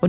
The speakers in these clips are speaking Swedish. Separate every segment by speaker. Speaker 1: och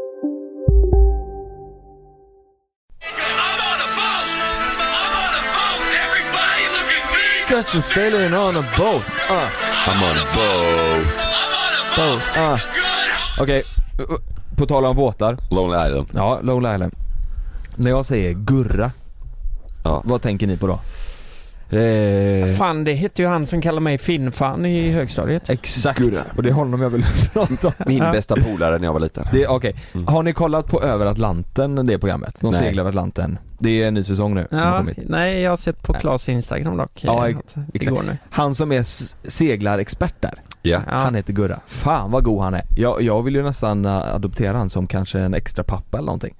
Speaker 2: Justin sailing on a boat. Uh. I'm on a boat. boat. Uh. Okej, uh, på tal om båtar.
Speaker 3: Long Island.
Speaker 2: Ja, Lowell Island. När jag säger Gurra,
Speaker 3: Ja.
Speaker 2: vad tänker ni på då?
Speaker 3: Eh,
Speaker 4: Fan, det hette ju han som kallade mig Finn-Fan i högstadiet.
Speaker 2: Exakt.
Speaker 3: Gurra.
Speaker 2: Och det är honom jag vill prata om.
Speaker 3: min bästa polare när jag var liten.
Speaker 2: Det, okej. Har ni kollat på Över Atlanten, det programmet? De
Speaker 3: Mm. Nej.
Speaker 2: seglar över Atlanten. Det är en ny säsong nu som har
Speaker 4: Ja,
Speaker 2: kommit.
Speaker 4: nej, jag har sett på
Speaker 2: Nej.
Speaker 4: Klas Instagram dock.
Speaker 2: Ja,
Speaker 4: eh,
Speaker 2: ex-
Speaker 4: något
Speaker 2: exakt.
Speaker 4: Igår nu.
Speaker 2: Han som är s- seglarexpert där,
Speaker 3: Ja.
Speaker 4: Ja.
Speaker 2: han heter Gurra. Fan vad god han är. Jag, jag vill ju nästan äh, adoptera han som kanske en extra pappa eller någonting.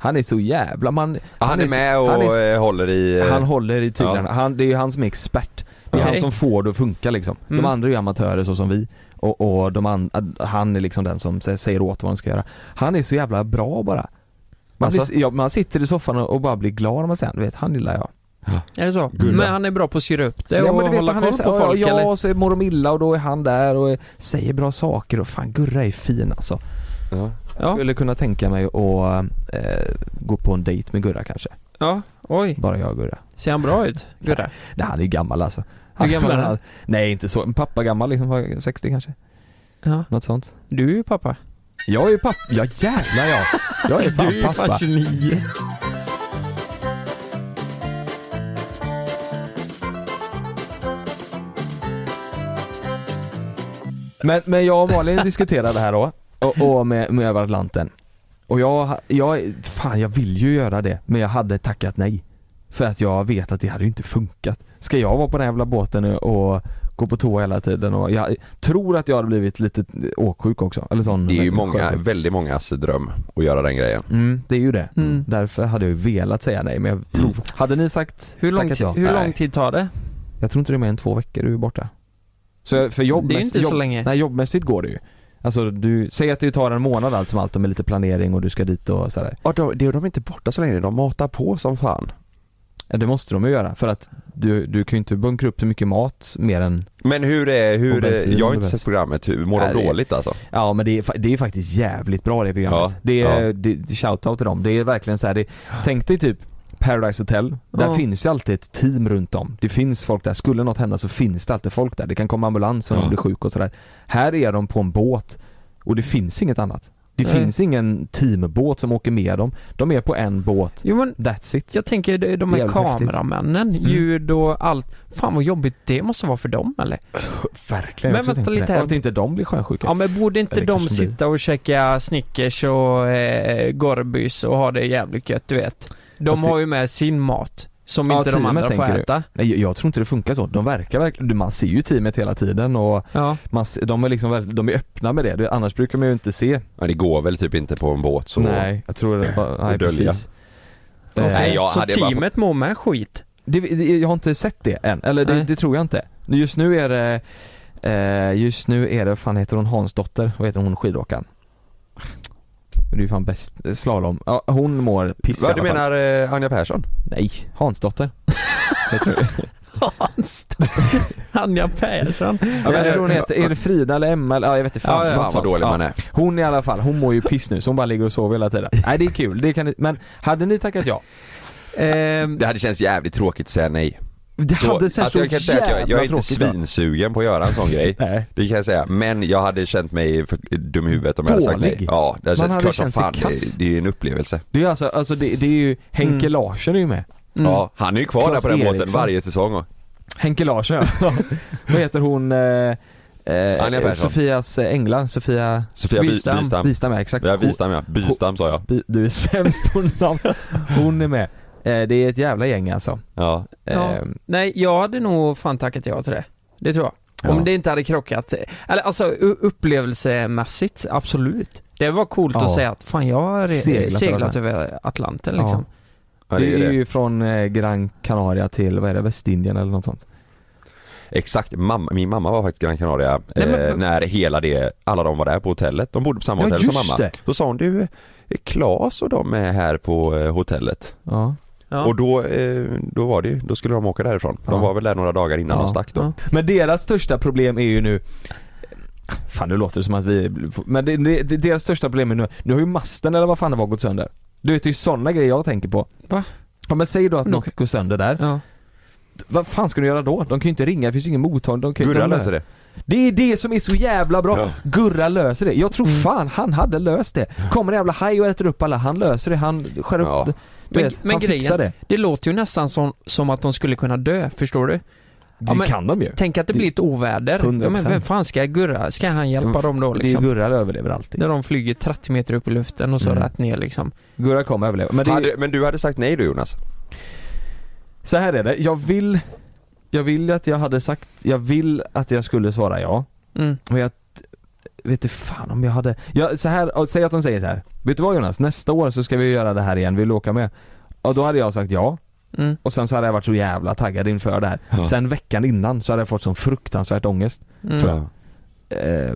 Speaker 2: Han är så jävla, man,
Speaker 3: Han, är
Speaker 2: så-
Speaker 3: med och
Speaker 2: han, är,
Speaker 3: eh, håller i... eh,
Speaker 2: så- han håller i tyglarna.
Speaker 3: Ja.
Speaker 2: Han, det är ju han som är expert. Det är
Speaker 4: Okej.
Speaker 2: han som får det att funka liksom.
Speaker 4: Mm.
Speaker 2: De andra är ju amatörer så som vi. Och, och de an, ad- han är liksom den som sä- säger åt vad de ska göra. Han är så jävla bra bara. Man,
Speaker 3: Alltså?
Speaker 2: blir, ja, man sitter i soffan och, och bara blir glad när man säger han. du vet han gillar jag.
Speaker 4: Är det så?
Speaker 3: Gulla.
Speaker 4: Men han är bra på att syra upp det
Speaker 2: Ja,
Speaker 4: och
Speaker 2: men du vet,
Speaker 4: hålla
Speaker 2: han
Speaker 4: koll
Speaker 2: är
Speaker 4: på
Speaker 2: så, här,
Speaker 4: folk
Speaker 2: ja,
Speaker 4: eller?
Speaker 2: Ja, så mår de illa och då är han där och säger bra saker och fan Gurra är fin alltså.
Speaker 3: ja.
Speaker 2: Jag
Speaker 4: Ja,
Speaker 2: skulle kunna tänka mig att eh, gå på en dejt med Gurra kanske.
Speaker 4: ja, oj.
Speaker 2: Bara jag och Gurra.
Speaker 4: Ser han bra ut? Gurra?
Speaker 2: Nej han är ju gammal alltså.
Speaker 4: Hur gammal är han?
Speaker 2: Nej inte så, pappa gammal liksom, 60 kanske.
Speaker 4: Ja.
Speaker 2: Något sånt.
Speaker 4: Du är ju pappa.
Speaker 2: Jag är ju pappa, ja jävlar jag. Jag är fan
Speaker 4: Du är
Speaker 2: pappa.
Speaker 4: fan 29.
Speaker 2: Men, men jag och Malin diskuterade det här då, och, och med, med över Atlanten. Och jag, jag, fan jag vill ju göra det, men jag hade tackat nej. För att jag vet att det hade ju inte funkat. Ska jag vara på den här jävla båten nu och gå på toa hela tiden och jag tror att jag hade blivit lite åksjuk också, eller sån
Speaker 3: Det är ju
Speaker 2: verkligen
Speaker 3: många,
Speaker 2: sjösjuk.
Speaker 3: väldigt mångas dröm att göra den grejen.
Speaker 2: Mm, det är ju det.
Speaker 4: Mm.
Speaker 2: Därför hade jag ju velat säga nej men jag tror,
Speaker 3: Mm.
Speaker 2: hade ni sagt
Speaker 4: Hur lång,
Speaker 2: tackat
Speaker 4: tid,
Speaker 2: ja?
Speaker 4: hur
Speaker 3: Nej.
Speaker 4: lång tid tar det?
Speaker 2: Jag tror inte det är mer än två veckor du är borta. Så jag- för jobb,
Speaker 4: Det är ju inte
Speaker 2: jobb,
Speaker 4: så länge.
Speaker 2: Nej jobbmässigt går det ju. Alltså du, säg att det tar en månad allt som allt och med lite planering och du ska dit och sådär.
Speaker 3: Ja, de, de är inte borta så länge, de matar på som fan.
Speaker 2: Ja, Det måste de ju göra för att du, du kan ju inte bunkra upp så mycket mat mer än
Speaker 3: Men hur är,
Speaker 2: Och
Speaker 3: hur,
Speaker 2: bensin
Speaker 3: jag har inte
Speaker 2: behövs.
Speaker 3: sett programmet, hur, mår
Speaker 2: Nej,
Speaker 3: de
Speaker 2: det är-
Speaker 3: dåligt alltså?
Speaker 2: Ja men det är, fa- det är faktiskt jävligt bra det programmet.
Speaker 3: Ja,
Speaker 2: det är,
Speaker 3: ja.
Speaker 2: det- det, shoutout till dem. Det är verkligen så här, det, tänk dig typ Paradise Hotel, där
Speaker 4: Ja.
Speaker 2: finns ju alltid ett team runt om. Det finns folk där, skulle något hända så finns det alltid folk där. Det kan komma ambulans om
Speaker 3: Ja.
Speaker 2: de blir sjuk och sådär. Här är de på en båt och det finns inget annat. Det
Speaker 4: Nej.
Speaker 2: finns ingen teambåt som åker med dem. De är på en båt,
Speaker 4: Jo men,
Speaker 2: that's it.
Speaker 4: jag tänker det- de här
Speaker 2: Jävligt häftigt. Mm.
Speaker 4: kameramännen, ljud och allt. Fan vad jobbigt det måste vara för dem eller?
Speaker 2: Verkligen.
Speaker 4: Men
Speaker 2: jag också
Speaker 4: vänta
Speaker 2: tänkte
Speaker 4: lite
Speaker 2: det.
Speaker 4: här.
Speaker 2: Och att inte de blir sjösjuka.
Speaker 4: Ja men borde inte
Speaker 2: Eller
Speaker 4: de
Speaker 2: kanske de blir-
Speaker 4: sitta och käka Snickers och eh, Gorbys och ha det jävligt gött du vet? De
Speaker 2: Fast det-
Speaker 4: har ju med sin mat som
Speaker 2: Ja,
Speaker 4: inte de
Speaker 2: teamet
Speaker 4: andra får
Speaker 2: tänker du.
Speaker 4: äta.
Speaker 2: Nej, jag- jag tror inte det funkar så. De verkar verkligen, man ser ju teamet hela tiden och
Speaker 4: Ja.
Speaker 2: Man, se- de, är liksom, väl- de är öppna med det, Det- annars brukar man ju inte se
Speaker 3: Ja, det går väl typ inte på en båt så.
Speaker 2: Nej, jag tror det var, nej,
Speaker 3: dölja.
Speaker 2: precis. Eh,
Speaker 3: Nej, jag
Speaker 4: så
Speaker 3: hade bara
Speaker 4: teamet mår med skit.
Speaker 2: det, det, jag har inte sett det än, eller det,
Speaker 4: Nej.
Speaker 2: det tror jag inte Just nu är det, eh, just nu är det, vad fan heter hon, Hansdotter, vad heter hon, skidåkaren? Det är ju fan bäst, slalom, ja, hon mår piss i
Speaker 3: Vad du
Speaker 2: alla fall.
Speaker 3: menar eh, Anja Persson?
Speaker 2: Nej, Hansdotter
Speaker 4: Hans. Anja Persson. Mm.
Speaker 2: ja, men Jag tror hon heter, är det Frida eller Emma eller, ja jag vet inte fan,
Speaker 4: Ja,
Speaker 2: något
Speaker 4: ja.
Speaker 3: Fan vad
Speaker 2: sånt.
Speaker 3: dålig
Speaker 2: Ja.
Speaker 3: man är.
Speaker 2: Hon i alla fall, hon mår ju piss nu så hon bara ligger och sover hela tiden Nej det är kul, det kan ni, men hade ni tackat ja?
Speaker 4: Ehm,
Speaker 3: Det hade känts jävligt tråkigt att säga nej.
Speaker 2: Det
Speaker 3: Så, alltså,
Speaker 2: hade sett så
Speaker 3: jag kan säga att jag, jag är
Speaker 2: jävla
Speaker 3: inte
Speaker 2: tråkigt ut.
Speaker 3: svinsugen på att göra en sån grej.
Speaker 2: Nej.
Speaker 3: Det kan jag säga, men jag hade känt mig för dum i huvudet om jag hade sagt
Speaker 2: Dålig.
Speaker 3: nej. Ja, det hade
Speaker 2: Man
Speaker 3: känts
Speaker 2: hade
Speaker 3: klart som
Speaker 2: känt sig
Speaker 3: fan,
Speaker 2: kass.
Speaker 3: det, det är ju en upplevelse.
Speaker 2: Det är alltså, alltså det, det är ju, Henke Larsen är ju med.
Speaker 4: Mm.
Speaker 3: Ja, han är ju kvar
Speaker 2: Claes
Speaker 3: där på den båten
Speaker 2: Eriksson.
Speaker 3: varje säsong. och-
Speaker 2: Henke Larsson ja. Vad heter hon? Eh,
Speaker 3: Anja
Speaker 2: eh,
Speaker 3: Persson.
Speaker 2: Sofias änglar, Sofia
Speaker 3: Sofia By-
Speaker 4: Bystam.
Speaker 3: Bystam.
Speaker 2: Wistam ja, exakt.
Speaker 3: Ja, Bystam ja. Bystam sa jag.
Speaker 2: Hon- By- Du är sämst på namn. Hon är med. Eh, det är ett jävla gäng alltså.
Speaker 3: Ja.
Speaker 4: Ja.
Speaker 2: Eh,
Speaker 3: ehm.
Speaker 4: Nej, jag hade nog fan tackat ja till det. Det tror jag. Om
Speaker 3: Ja.
Speaker 4: det inte hade krockat. Eller alltså u- upplevelsemässigt, absolut. Det var coolt
Speaker 2: Ja.
Speaker 4: att säga att fan jag har re-
Speaker 2: Seglat
Speaker 4: seglat,
Speaker 2: över.
Speaker 4: över Atlanten
Speaker 2: Ja.
Speaker 4: liksom.
Speaker 3: ja,
Speaker 2: det,
Speaker 3: det är
Speaker 2: är
Speaker 3: ju det.
Speaker 2: ju från eh, Gran Canaria till, vad är det, Västindien eller något sånt?
Speaker 3: Exakt, mamma, min mamma var faktiskt i Gran Canaria
Speaker 4: Nej, men-
Speaker 3: eh, när hela det, alla de var där på hotellet. De bodde på samma
Speaker 2: Ja,
Speaker 3: hotell som
Speaker 2: just
Speaker 3: mamma.
Speaker 2: det.
Speaker 3: Då sa hon du, eh, Klas och de är här på eh, hotellet.
Speaker 2: Ja.
Speaker 4: Ja.
Speaker 3: Och då, eh, då var det ju, då skulle de åka därifrån. De
Speaker 2: Ja.
Speaker 3: var väl där några dagar innan
Speaker 2: Ja.
Speaker 3: de stack då.
Speaker 4: Ja.
Speaker 2: Men deras största problem är ju nu Fan nu låter det som att vi, men det, det, det, deras största problem är nu, nu har ju masten eller vad fan det var gått sönder Du vet det är ju sådana grejer jag tänker på
Speaker 4: Va?
Speaker 2: Ja men säg då att
Speaker 4: Men
Speaker 2: något går sönder där,
Speaker 4: Ja.
Speaker 2: vad fan ska du göra då? De kan ju inte ringa, det finns ju ingen mottagning, de kan ju
Speaker 3: Gurra
Speaker 2: inte
Speaker 3: löser det.
Speaker 2: Det är det som är så jävla bra!
Speaker 3: Ja.
Speaker 2: Gurra löser det, jag tror
Speaker 4: Mm.
Speaker 2: fan han hade löst det Kommer en jävla haj och äter upp alla, han löser det, han skär upp
Speaker 3: Ja.
Speaker 2: det Du
Speaker 4: Men-
Speaker 2: vet,
Speaker 4: men
Speaker 2: han fixar det
Speaker 4: Det låter ju nästan som, som att de skulle kunna dö, förstår du? Ja, men-
Speaker 2: kan de ju
Speaker 4: Tänk att det
Speaker 2: Det-
Speaker 4: blir ett oväder. Ja,
Speaker 2: 100%.
Speaker 4: men vem fan ska Gurra, ska han hjälpa dem då liksom?
Speaker 2: Det är ju Gurra överlever alltid
Speaker 4: När de flyger 30 meter upp i luften och så
Speaker 2: Mm.
Speaker 4: rätt ner liksom.
Speaker 2: Gurra kommer överleva, men det är,
Speaker 3: Hade, men du hade sagt nej då Jonas?
Speaker 2: Så här är det, jag vill Jag vill att jag hade sagt, jag vill att jag skulle svara ja
Speaker 4: Mm.
Speaker 2: Men jag vet du fan om jag hade, jag, så här, och säg att de säger så här. Vet du vad Jonas, nästa år så ska vi göra det här igen, vill du åka med? Och då hade jag sagt ja,
Speaker 4: Mm.
Speaker 2: och sen så hade jag varit så jävla taggad inför det här
Speaker 3: Ja.
Speaker 2: Sen veckan innan så hade jag fått sån fruktansvärt ångest
Speaker 4: Mm.
Speaker 3: Tror jag.
Speaker 2: eh,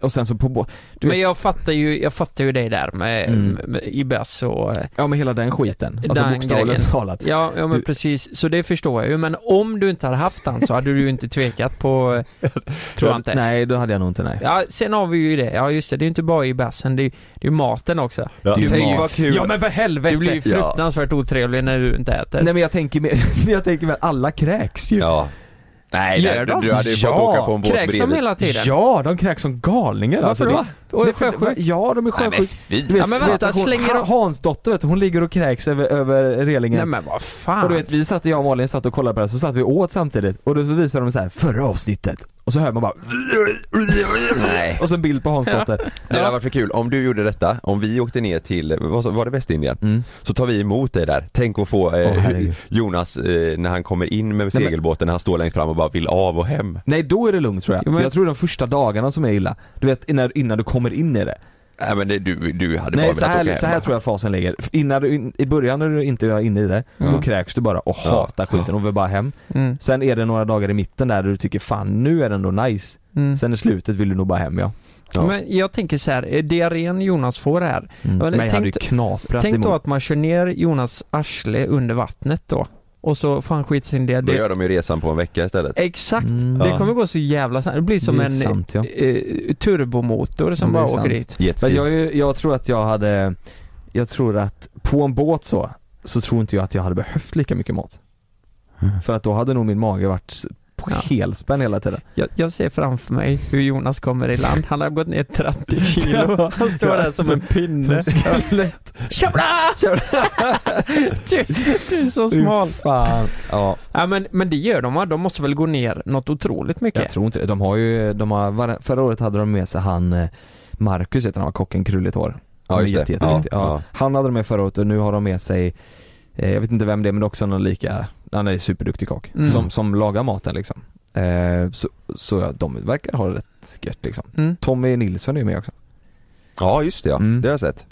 Speaker 2: Och sen så på bå- du
Speaker 4: Men
Speaker 2: vet,
Speaker 4: jag fattar ju, jag fattar ju dig där med,
Speaker 2: Mm.
Speaker 4: med i bäs och eh,
Speaker 2: ja men hela den skiten, alltså
Speaker 4: Den
Speaker 2: bokstavligt
Speaker 4: grejen.
Speaker 2: talat
Speaker 4: Ja, ja men
Speaker 2: Du-
Speaker 4: precis, så det förstår jag ju. Men om du inte hade haft den så hade du ju inte tvekat på, eh, tror jag inte.
Speaker 2: Nej, då hade jag nog inte nej
Speaker 4: Ja, sen har vi ju det. Ja just det, det är ju inte bara i bassen, det är ju det är ju maten också.
Speaker 3: Ja.
Speaker 4: Du
Speaker 3: Tänk
Speaker 4: mat.
Speaker 3: vad kul.
Speaker 4: Ja men för helvete! Du blir ju
Speaker 3: Ja.
Speaker 4: fruktansvärt otrevlig när du inte äter.
Speaker 2: Nej men jag tänker mer, jag tänker mer, alla kräks ju
Speaker 3: Ja. Nej,
Speaker 4: Gör
Speaker 3: nej
Speaker 4: de?
Speaker 3: du, du hade ju fått
Speaker 2: Ja.
Speaker 3: åka på en båt
Speaker 4: Kräks de
Speaker 3: bredvid.
Speaker 4: hela tiden?
Speaker 2: Ja, de kräks som galningar
Speaker 4: Varför
Speaker 2: alltså.
Speaker 4: då?
Speaker 2: det-
Speaker 4: Och är
Speaker 2: Nej, för-
Speaker 4: sjösjuk?
Speaker 2: Ja, de är
Speaker 3: Nej men
Speaker 2: sjösjuka.
Speaker 3: fy.
Speaker 2: Du vet,
Speaker 4: Ja, men vänta,
Speaker 2: vet att hon,
Speaker 4: slänger
Speaker 2: Han-
Speaker 4: de-
Speaker 2: Hans dotter vet du, hon ligger och kräks över, över relingen.
Speaker 4: Nej men vad fan.
Speaker 2: och du vet, vi satt, jag och Malin satt och kollade på det här, så satt vi och åt samtidigt och då så visade de så här förra avsnittet och så hör man bara
Speaker 3: Nej.
Speaker 2: och så en bild på Hans dotter.
Speaker 3: Det hade varit för kul om du gjorde detta, om vi åkte ner till, vad sa- var det Västindien? Så tar vi emot dig där, tänk att få eh,
Speaker 2: Åh, herregud.
Speaker 3: Jonas eh, när han kommer in med
Speaker 2: men-
Speaker 3: segelbåten, när han står längst fram och bara vill av och hem
Speaker 2: Nej då är det lugnt tror jag.
Speaker 4: Jo, men-
Speaker 2: Jag tror de första dagarna som är illa, du vet innan, innan du kommer in i det.
Speaker 3: Nej men det, du, du hade bara
Speaker 2: Nej
Speaker 3: velat
Speaker 2: så
Speaker 3: åka
Speaker 2: här,
Speaker 3: hem
Speaker 2: så här tror jag fasen ligger. F- Innan du, in, I början när du inte är inne i det, då kräks du bara och
Speaker 3: Ja.
Speaker 2: hatar skiten och vill bara hem.
Speaker 4: Mm.
Speaker 2: Sen är det några dagar i mitten där du tycker fan nu är det ändå nice.
Speaker 4: Mm.
Speaker 2: Sen i slutet vill du nog bara hem ja.
Speaker 3: Ja.
Speaker 4: Men jag tänker så här, eh, diarrén Jonas får här.
Speaker 2: Mm. Men,
Speaker 4: Men
Speaker 2: jag hade ju
Speaker 4: tänk-
Speaker 2: knaprat
Speaker 4: Tänk
Speaker 2: emot.
Speaker 4: då att man kör ner Jonas arsle under vattnet då. Och så fan skit sin det.
Speaker 3: Då
Speaker 4: det
Speaker 3: gör de ju resan på en vecka istället
Speaker 4: exakt.
Speaker 2: Mm.
Speaker 4: Det
Speaker 2: Ja.
Speaker 4: kommer gå så jävla snabbt. Det blir som
Speaker 2: Det är
Speaker 4: en
Speaker 2: sant, ja.
Speaker 4: eh, turbomotor som
Speaker 2: Ja, det är
Speaker 4: bara
Speaker 2: sant.
Speaker 4: åker dit.
Speaker 2: Men
Speaker 3: Jetski
Speaker 2: jag, är ju- jag tror att jag hade, jag tror att på en båt så, så tror inte jag att jag hade behövt lika mycket mat. För att då hade nog min mage varit på
Speaker 4: Mm. Ja.
Speaker 2: helspänn hela tiden.
Speaker 4: Jag, jag ser framför mig hur Jonas kommer i land. Han har gått ner 30 kilo. Han står där som en pinne. Tjabla! du, du är så smal.
Speaker 2: Fan. Ja,
Speaker 4: Ja, men, men det gör de va? De måste väl gå ner något otroligt
Speaker 2: jag
Speaker 4: mycket?
Speaker 2: tror inte det. De har ju, de har, var- förra året hade de med sig han eh, Marcus heter han, kocken, krulligt hår.
Speaker 3: Ja just
Speaker 2: jätte,
Speaker 3: det,
Speaker 2: jätte, jätte, ja.
Speaker 3: ja.
Speaker 2: Han hade de med förra året och nu har de med sig eh, Jag vet inte vem det är men det är också någon lika Han är superduktig kock
Speaker 4: Mm.
Speaker 2: som, som lagar maten liksom eh, Så, så ja, de verkar ha det rätt gött liksom
Speaker 4: Mm.
Speaker 2: Tommy Nilsson är ju med också
Speaker 3: ja just det ja,
Speaker 2: Mm.
Speaker 3: det har jag sett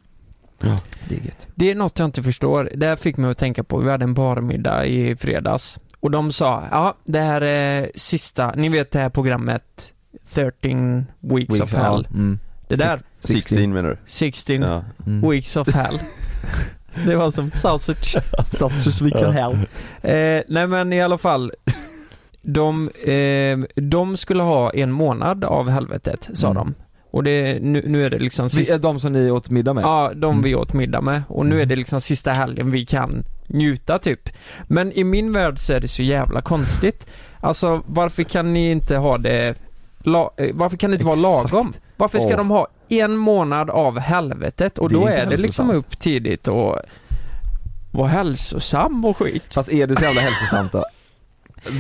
Speaker 2: Det är gött
Speaker 4: Det är något jag inte förstår. Det här fick mig att tänka på, vi hade en barmiddag i fredags. Och de sa, ja det här är sista, ni vet det här programmet 13 weeks, of hell.
Speaker 2: mm.
Speaker 4: Det där,
Speaker 3: 16 menar du?
Speaker 4: 16
Speaker 3: Ja.
Speaker 2: Mm.
Speaker 4: weeks of hell. det var som sausage.
Speaker 2: Satsers week of hell
Speaker 4: Eh, nej men i alla fall. De, eh, de skulle ha en månad av helvetet, sa
Speaker 2: Mm.
Speaker 4: de. Och det, nu, nu är det liksom
Speaker 2: Vi
Speaker 4: sista,
Speaker 2: är de som ni åt middag med?
Speaker 4: ja de vi åt middag med. Och nu är det liksom sista helgen vi kan njuta typ. Men i min värld så är det så jävla konstigt. Alltså varför kan ni inte ha det, la, eh, varför kan det inte vara
Speaker 2: Exakt.
Speaker 4: lagom? Varför ska
Speaker 2: Åh.
Speaker 4: de ha en månad av helvetet och
Speaker 2: Det är
Speaker 4: då
Speaker 2: inte
Speaker 4: är det
Speaker 2: heller så
Speaker 4: liksom
Speaker 2: sant.
Speaker 4: upp tidigt och vara hälsosam och skit.
Speaker 2: Fast är det så jävla hälsosamt då?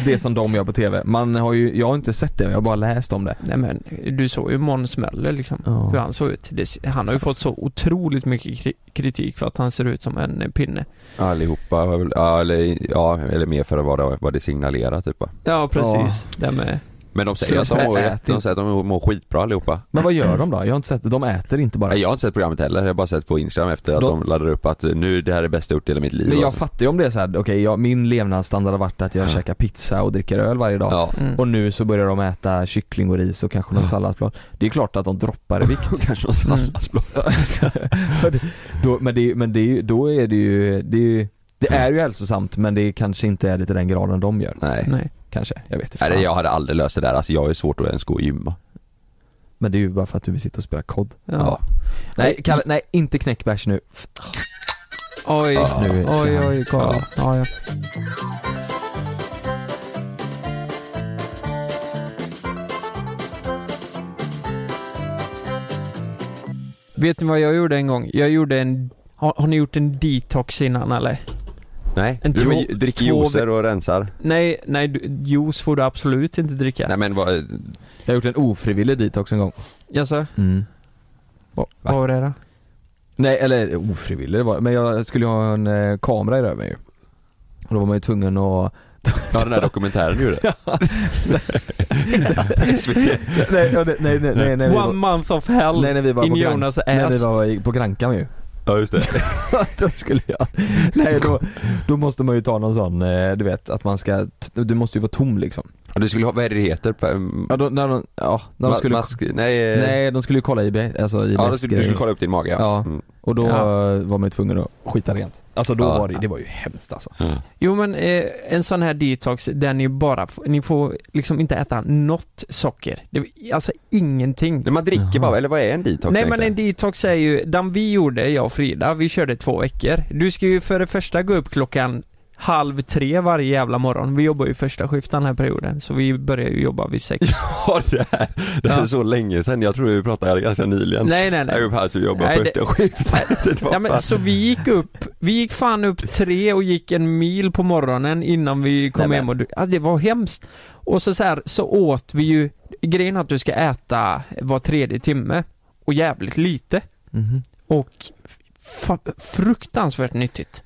Speaker 2: Det som de gör på TV. Man har ju, jag har inte sett det, jag har bara läst om det.
Speaker 4: Nej men, du såg ju Måns Möller liksom,
Speaker 2: Ja. Alltså.
Speaker 4: hur han såg ut. Det, han har ju fått så otroligt mycket kri- kritik för att han ser ut som en eh, pinne.
Speaker 3: Allihopa har väl, ja eller, ja, eller mer för vad det, vad det signalerar typ va.
Speaker 4: Ja precis, det med.
Speaker 3: Men de säger, att de,
Speaker 2: Slumpmässigt.
Speaker 3: mår, jätte- de säger att de mår skitbra allihopa.
Speaker 2: Men vad gör de då? Jag har inte sett det, de äter inte bara.
Speaker 3: Nej, Jag har inte sett programmet heller, jag har bara sett på Instagram efter att
Speaker 2: De-
Speaker 3: de, laddar upp att eh, nu, det här är det bästa jag gjort i hela mitt liv.
Speaker 2: Men jag
Speaker 3: Och-
Speaker 2: fattar ju om det är så här, okej jag- min levnadsstandard har varit att jag
Speaker 3: Ja.
Speaker 2: käkar pizza och dricker öl varje dag.
Speaker 3: Ja,
Speaker 4: Mm.
Speaker 2: Och nu så börjar de äta kyckling och ris och kanske någon
Speaker 3: Ja.
Speaker 2: salladsblad. Det är klart att de droppar i vikt.
Speaker 3: kanske någon
Speaker 4: Mm.
Speaker 3: salladsblad.
Speaker 2: då, men det, men det, är ju- då är det ju, det är ju det är ju hälsosamt men det kanske inte är det till den graden de gör.
Speaker 3: Nej.
Speaker 4: Nej.
Speaker 2: Kanske, jag vet inte.
Speaker 3: Nej,
Speaker 2: fan.
Speaker 3: det- jag hade aldrig löst det där, alltså jag är svårt att ens gå och gymma.
Speaker 2: Men det är ju bara för att du vill sitta och spela kod.
Speaker 4: Ja.
Speaker 3: Ja.
Speaker 2: Nej, Kalle, nej inte knäckbärs nu. F-
Speaker 4: Oj,
Speaker 3: Ja.
Speaker 2: Nu ska
Speaker 4: oj,
Speaker 2: han-
Speaker 4: oj, Karl.
Speaker 3: Ja.
Speaker 4: Ja, ja. Vet ni vad jag gjorde en gång? Jag gjorde en... Har, har ni gjort en detox innan eller?
Speaker 3: Nej,
Speaker 4: En
Speaker 3: du men,
Speaker 4: två-
Speaker 3: dricker
Speaker 4: två
Speaker 3: juicer och rensar.
Speaker 4: Nej, nej, du, juice får du absolut inte dricka.
Speaker 3: Nej men vad,
Speaker 2: Jag har gjort en ofrivillig detox en gång.
Speaker 4: Jaså?
Speaker 2: Mm.
Speaker 4: Vad
Speaker 3: Va?
Speaker 4: vad var det då?
Speaker 2: Nej eller ofrivillig det var men jag skulle ju ha en eh, kamera i röven ju. Och då var man ju tvungen att...
Speaker 3: ja den där dokumentären du gjorde. SVT.
Speaker 2: nej, ja, nej, nej, nej, nej, nej, vi
Speaker 4: One
Speaker 2: var-
Speaker 4: month of hell
Speaker 2: nej, när vi var
Speaker 4: in
Speaker 2: på Gran...
Speaker 4: Jonas ass.
Speaker 2: Nej, när vi var i- på Grankan ju.
Speaker 3: Ja just det.
Speaker 2: då skulle jag... Nej då, då måste man ju ta någon sån, eh, du vet att man ska, t- du måste ju vara tom liksom.
Speaker 3: Ja, Du skulle ha, vad är det det heter? Pa-
Speaker 2: Ja, då, när de, ja, när de
Speaker 3: ma-
Speaker 2: skulle...
Speaker 3: mask, nej, eh,
Speaker 2: Nej, de skulle ju kolla IB, alltså IBS
Speaker 3: ja, du, skulle, du skulle kolla upp din mage
Speaker 2: Ja.
Speaker 3: Mm.
Speaker 2: Och då
Speaker 4: Ja.
Speaker 2: eh, var man ju tvungen att skita rent. Alltså då
Speaker 3: Ja.
Speaker 2: var det, det var ju hemskt alltså.
Speaker 4: Jo men eh, en sån här detox där ni bara, f- ni får liksom inte äta något socker. Det, alltså ingenting.
Speaker 3: Nej, man dricker bara, eller vad är en detox
Speaker 4: Nej men en
Speaker 3: egentligen?
Speaker 4: detox är ju, den vi gjorde, jag och Frida, vi körde två veckor. Du ska ju för det första gå upp klockan halv tre varje jävla morgon. Vi jobbar ju första skiften den här perioden, så vi börjar ju jobba vid sex.
Speaker 3: Ja det här, det här är
Speaker 4: Ja.
Speaker 3: så länge sedan, jag tror vi pratade ganska nyligen.
Speaker 4: nej nej
Speaker 3: Jag är
Speaker 4: nej.
Speaker 3: uppe här så vi jobbar
Speaker 4: Nej, det-
Speaker 3: första skiftet. Det var
Speaker 4: Ja, men,
Speaker 3: fan-
Speaker 4: så vi gick upp, vi gick fan upp tre och gick en mil på morgonen innan vi kom
Speaker 2: Nej, men-
Speaker 4: hem och du, ja, det var hemskt. Och så, så här, så åt vi ju, grejen är att du ska äta var tredje timme och jävligt lite
Speaker 3: Mhm.
Speaker 4: och fa- fruktansvärt nyttigt.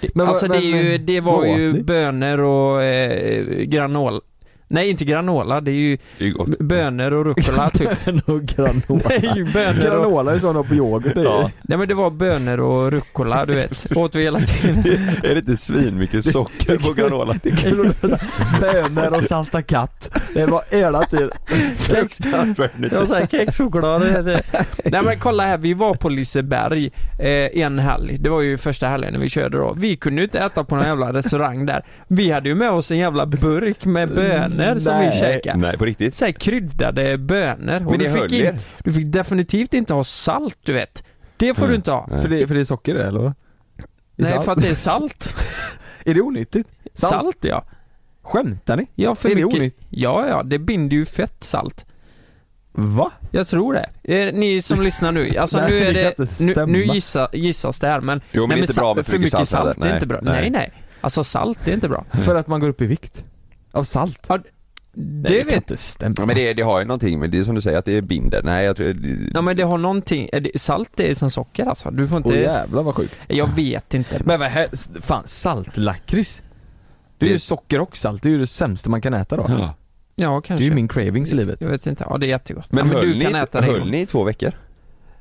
Speaker 4: Det,
Speaker 2: Men vad-
Speaker 4: alltså det, är
Speaker 2: men-
Speaker 4: ju, det var
Speaker 2: vad åt ni?
Speaker 4: ju bönor och eh, granola, nej inte granola, det är ju
Speaker 3: Det är ju gott.
Speaker 4: b- bönor och rucola typ.
Speaker 2: och granola.
Speaker 4: Nej, bönor och,
Speaker 2: Granola är sådana på yoghurt i.
Speaker 3: Ja.
Speaker 4: nej men det var bönor och rucola du vet, åt vi hela tiden.
Speaker 3: Är det inte svin mycket socker på granola?
Speaker 2: Bönor och salta katt. Det var hela tiden.
Speaker 4: Kex,
Speaker 3: Fruktansvärt nytt.
Speaker 4: jag var såhär kexchoklad det heter. Nej men kolla här, vi var på Liseberg eh, en helg. Det var ju första helgen när vi körde då. Vi kunde ju inte äta på någon jävla restaurang där. Vi hade ju med oss en jävla burk med bönor som vi
Speaker 2: Nej.
Speaker 4: käkade.
Speaker 3: Nej på riktigt?
Speaker 4: Såhär kryddade bönor. Och
Speaker 3: Men
Speaker 4: du,
Speaker 3: det höll
Speaker 4: fick
Speaker 3: er?
Speaker 4: in, du fick definitivt inte ha salt du vet. Det får
Speaker 3: Mm.
Speaker 4: du inte ha.
Speaker 3: Nej.
Speaker 2: För det, för det är socker i det eller? I
Speaker 4: Nej
Speaker 2: salt?
Speaker 4: för att det är salt.
Speaker 2: Är det onyttigt? Salt?
Speaker 4: Salt, ja.
Speaker 2: Skämtar ni?
Speaker 4: ja för
Speaker 2: Är det
Speaker 4: mycket-
Speaker 2: onytt?
Speaker 4: Ja ja, det binder ju fett salt.
Speaker 2: Va?
Speaker 4: Jag tror det. Eh, ni som lyssnar nu, alltså
Speaker 2: Nej,
Speaker 4: nu
Speaker 2: det
Speaker 4: är
Speaker 2: kan
Speaker 4: det,
Speaker 2: inte
Speaker 4: nu,
Speaker 2: stämma.
Speaker 4: nu gissa, gissas det här men...
Speaker 3: Jo men, det är inte
Speaker 4: sa-
Speaker 3: bra med
Speaker 4: för mycket salt,
Speaker 3: heller.
Speaker 4: det är inte bra. Nej. nej Alltså salt, det är inte bra.
Speaker 2: För att man går upp i vikt? Av salt?
Speaker 4: Ja,
Speaker 2: Nej,
Speaker 4: det
Speaker 2: kan
Speaker 4: vet
Speaker 2: inte stämma.
Speaker 3: Ja, men det, det har ju någonting men det är som du säger att det är binder. Nej jag tror... Det,
Speaker 4: Ja men det har någonting, är det, salt det är som socker alltså. Du får inte,
Speaker 2: Åh jävlar vad sjukt.
Speaker 4: jag vet inte.
Speaker 2: Oh, Men vad här, s- fan saltlakrits? Det är ju
Speaker 3: Det-
Speaker 2: socker och salt, det är ju det sämsta man kan äta då.
Speaker 3: Ja.
Speaker 4: Ja
Speaker 2: Det är
Speaker 4: kanske.
Speaker 2: ju min cravings i livet.
Speaker 4: Jag vet inte, ja det är jättegott.
Speaker 3: Men,
Speaker 4: ja,
Speaker 3: höll, ni,
Speaker 4: det
Speaker 3: höll
Speaker 4: Johan.
Speaker 3: ni i två veckor?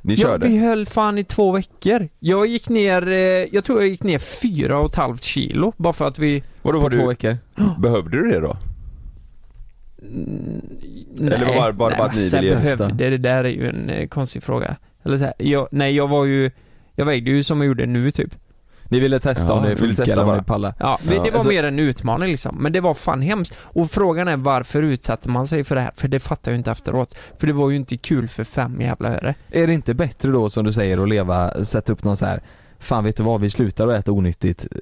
Speaker 3: Ni
Speaker 4: Ja
Speaker 3: körde?
Speaker 4: vi höll fan i två veckor. Jag gick ner, eh, jag tror jag gick ner fyra och ett halvt kilo bara för att vi...
Speaker 3: Vadå, var
Speaker 2: På två
Speaker 3: du,
Speaker 2: veckor.
Speaker 3: behövde du det då? Eller var det bara- bara att ni
Speaker 4: sen
Speaker 3: ville ge
Speaker 4: behövde,
Speaker 2: hästen?
Speaker 4: det, det där är ju en eh, konstig fråga. Eller så här, jag, nej jag var ju, jag vägde ju som jag gjorde nu typ.
Speaker 2: Ni ville testa
Speaker 3: Ja,
Speaker 2: om det
Speaker 3: vi ville
Speaker 2: funkar
Speaker 3: testa
Speaker 2: eller om
Speaker 3: bara.
Speaker 2: ni pallar.
Speaker 4: Ja, men
Speaker 3: Ja,
Speaker 4: det var
Speaker 2: alltså-
Speaker 4: mer en utmaning liksom. Men det var fan hemskt. Och frågan är varför utsatte man sig för det här? För det fattar jag ju inte efteråt. För det var ju inte kul för fem jävla öre.
Speaker 2: Är det inte bättre då som du säger att leva, sätta upp någon så här Fan vet du vad, vi slutar att äta onyttigt eh,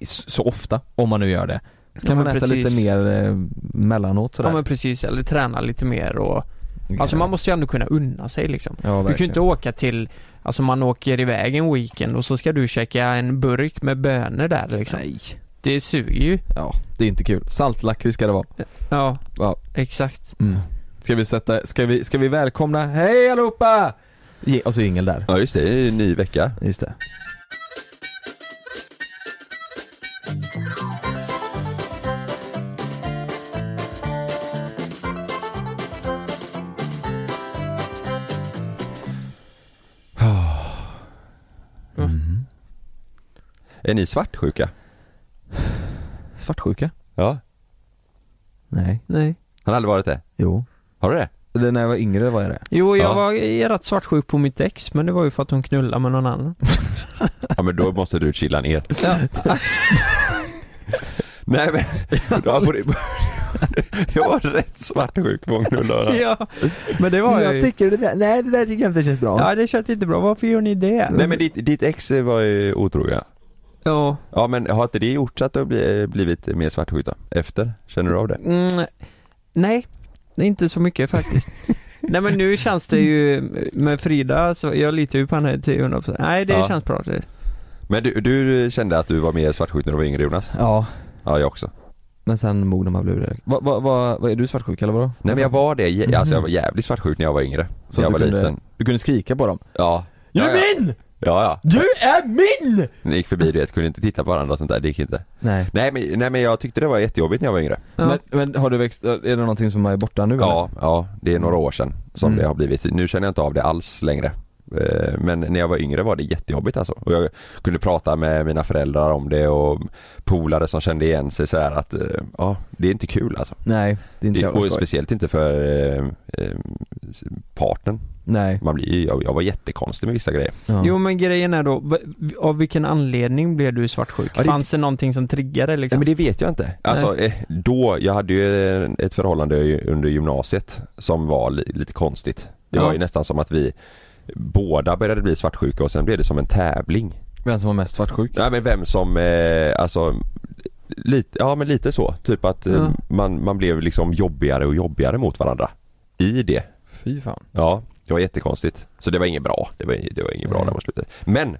Speaker 2: s- så ofta, om man nu gör det. Så kan
Speaker 4: Ja, men
Speaker 2: man äta
Speaker 4: precis.
Speaker 2: lite mer eh, mellanåt sådär.
Speaker 4: Ja men alltså, precis, eller träna lite mer och... Alltså man måste ju ändå kunna unna sig liksom.
Speaker 2: ja,
Speaker 4: Du kan ju inte åka till, Alltså man åker iväg en weekend och så ska du käka en burk med bönor där liksom.
Speaker 2: Nej.
Speaker 4: Det suger ju.
Speaker 2: Ja, det är inte kul. Saltlakrits ska det vara.
Speaker 4: Ja,
Speaker 2: Ja. mm.
Speaker 4: exakt.
Speaker 2: Ska vi sätta, ska vi, ska vi välkomna, hej allihopa! Ge- Och så jingel där.
Speaker 3: Ja just det, det är en ny vecka.
Speaker 2: Just det.
Speaker 3: Är ni svartsjuka?
Speaker 2: Svartsjuka?
Speaker 3: Ja.
Speaker 2: Nej.
Speaker 4: Nej.
Speaker 3: Han har aldrig varit det?
Speaker 2: Jo.
Speaker 3: Har du det?
Speaker 2: Eller när jag var yngre var jag det.
Speaker 4: Jo, jag
Speaker 3: Ja.
Speaker 4: var jag är rätt svartsjuk på mitt ex, men det var ju för att hon knullade med någon annan.
Speaker 3: Ja men då måste du chilla ner. Nej men, ja, på det, jag var rätt svartsjuk på knullorna.
Speaker 4: ja, men det var jag ju.
Speaker 2: tycker det där, nej det där tycker jag inte känns bra.
Speaker 4: Ja, det känns inte bra. Varför gör ni det?
Speaker 3: Nej men ditt, ditt ex var ju otrogen.
Speaker 4: Ja.
Speaker 3: Ja men har inte det gjort så att du har bli- blivit mer svartsjuk då? Efter? Känner du av det?
Speaker 4: Mm, nej, det är inte så mycket faktiskt. nej men nu känns det ju med Frida, så jag litar ju på henne till 100%. Nej, det
Speaker 3: Ja.
Speaker 4: känns bra. Det.
Speaker 3: Men du, du kände att du var mer svartsjuk när du var yngre Jonas?
Speaker 2: Ja,
Speaker 3: Ja jag också.
Speaker 2: men sen mognar man blir det. Vad, vad, vad, vad, är du svartsjuk eller vadå?
Speaker 3: Nej men jag var det, jä- alltså jag var jävligt svartsjuk när jag var yngre.
Speaker 2: Så
Speaker 3: när jag
Speaker 2: att
Speaker 3: var
Speaker 2: du kunde,
Speaker 3: liten.
Speaker 2: Du kunde skrika på dem.
Speaker 3: Ja. Ja, ja.
Speaker 2: min!
Speaker 3: ja, ja.
Speaker 2: Du är min!
Speaker 3: Ni gick förbi du vet, kunde inte titta på varandra och sånt där, det gick inte.
Speaker 2: Nej.
Speaker 3: Nej men, nej men jag tyckte det var jättejobbigt när jag var yngre.
Speaker 4: Ja.
Speaker 2: Men, men har du växt, är det någonting som är borta nu eller?
Speaker 3: Ja, ja, det är några år sedan som
Speaker 2: Mm.
Speaker 3: det har blivit. Nu känner jag inte av det alls längre. Eh, Men när jag var yngre var det jättejobbigt alltså. Och jag kunde prata med mina föräldrar om det och polare som kände igen sig så här att eh, ja, det är inte kul alltså.
Speaker 2: Nej, det är inte
Speaker 3: Det,
Speaker 2: jävla
Speaker 3: och
Speaker 2: skoj.
Speaker 3: speciellt inte för eh, eh, partnern.
Speaker 2: Nej.
Speaker 3: Man blir, ju- jag, jag var jättekonstig med vissa grejer.
Speaker 2: Ja.
Speaker 4: Jo men grejen är då, v- av vilken anledning blev du svartsjuk?
Speaker 3: Ja, det-
Speaker 4: Fanns det någonting som triggade
Speaker 3: Nej,
Speaker 4: liksom?
Speaker 3: men det vet jag inte. Alltså eh, då, jag hade ju eh, ett förhållande ju under gymnasiet som var li- lite konstigt. Det
Speaker 4: Ja.
Speaker 3: var ju nästan som att vi båda började bli svartsjuka och sen blev det som en tävling.
Speaker 2: Vem som var mest svartsjuk?
Speaker 3: Nej men vem som, eh, alltså lite, ja men lite så. Typ att eh,
Speaker 4: Ja.
Speaker 3: man, man blev liksom jobbigare och jobbigare mot varandra. I det.
Speaker 2: Fy fan.
Speaker 3: Ja, det var jättekonstigt. Så det var inget bra. Det var, det var inget bra
Speaker 2: Nej.
Speaker 3: när man slutade. Men!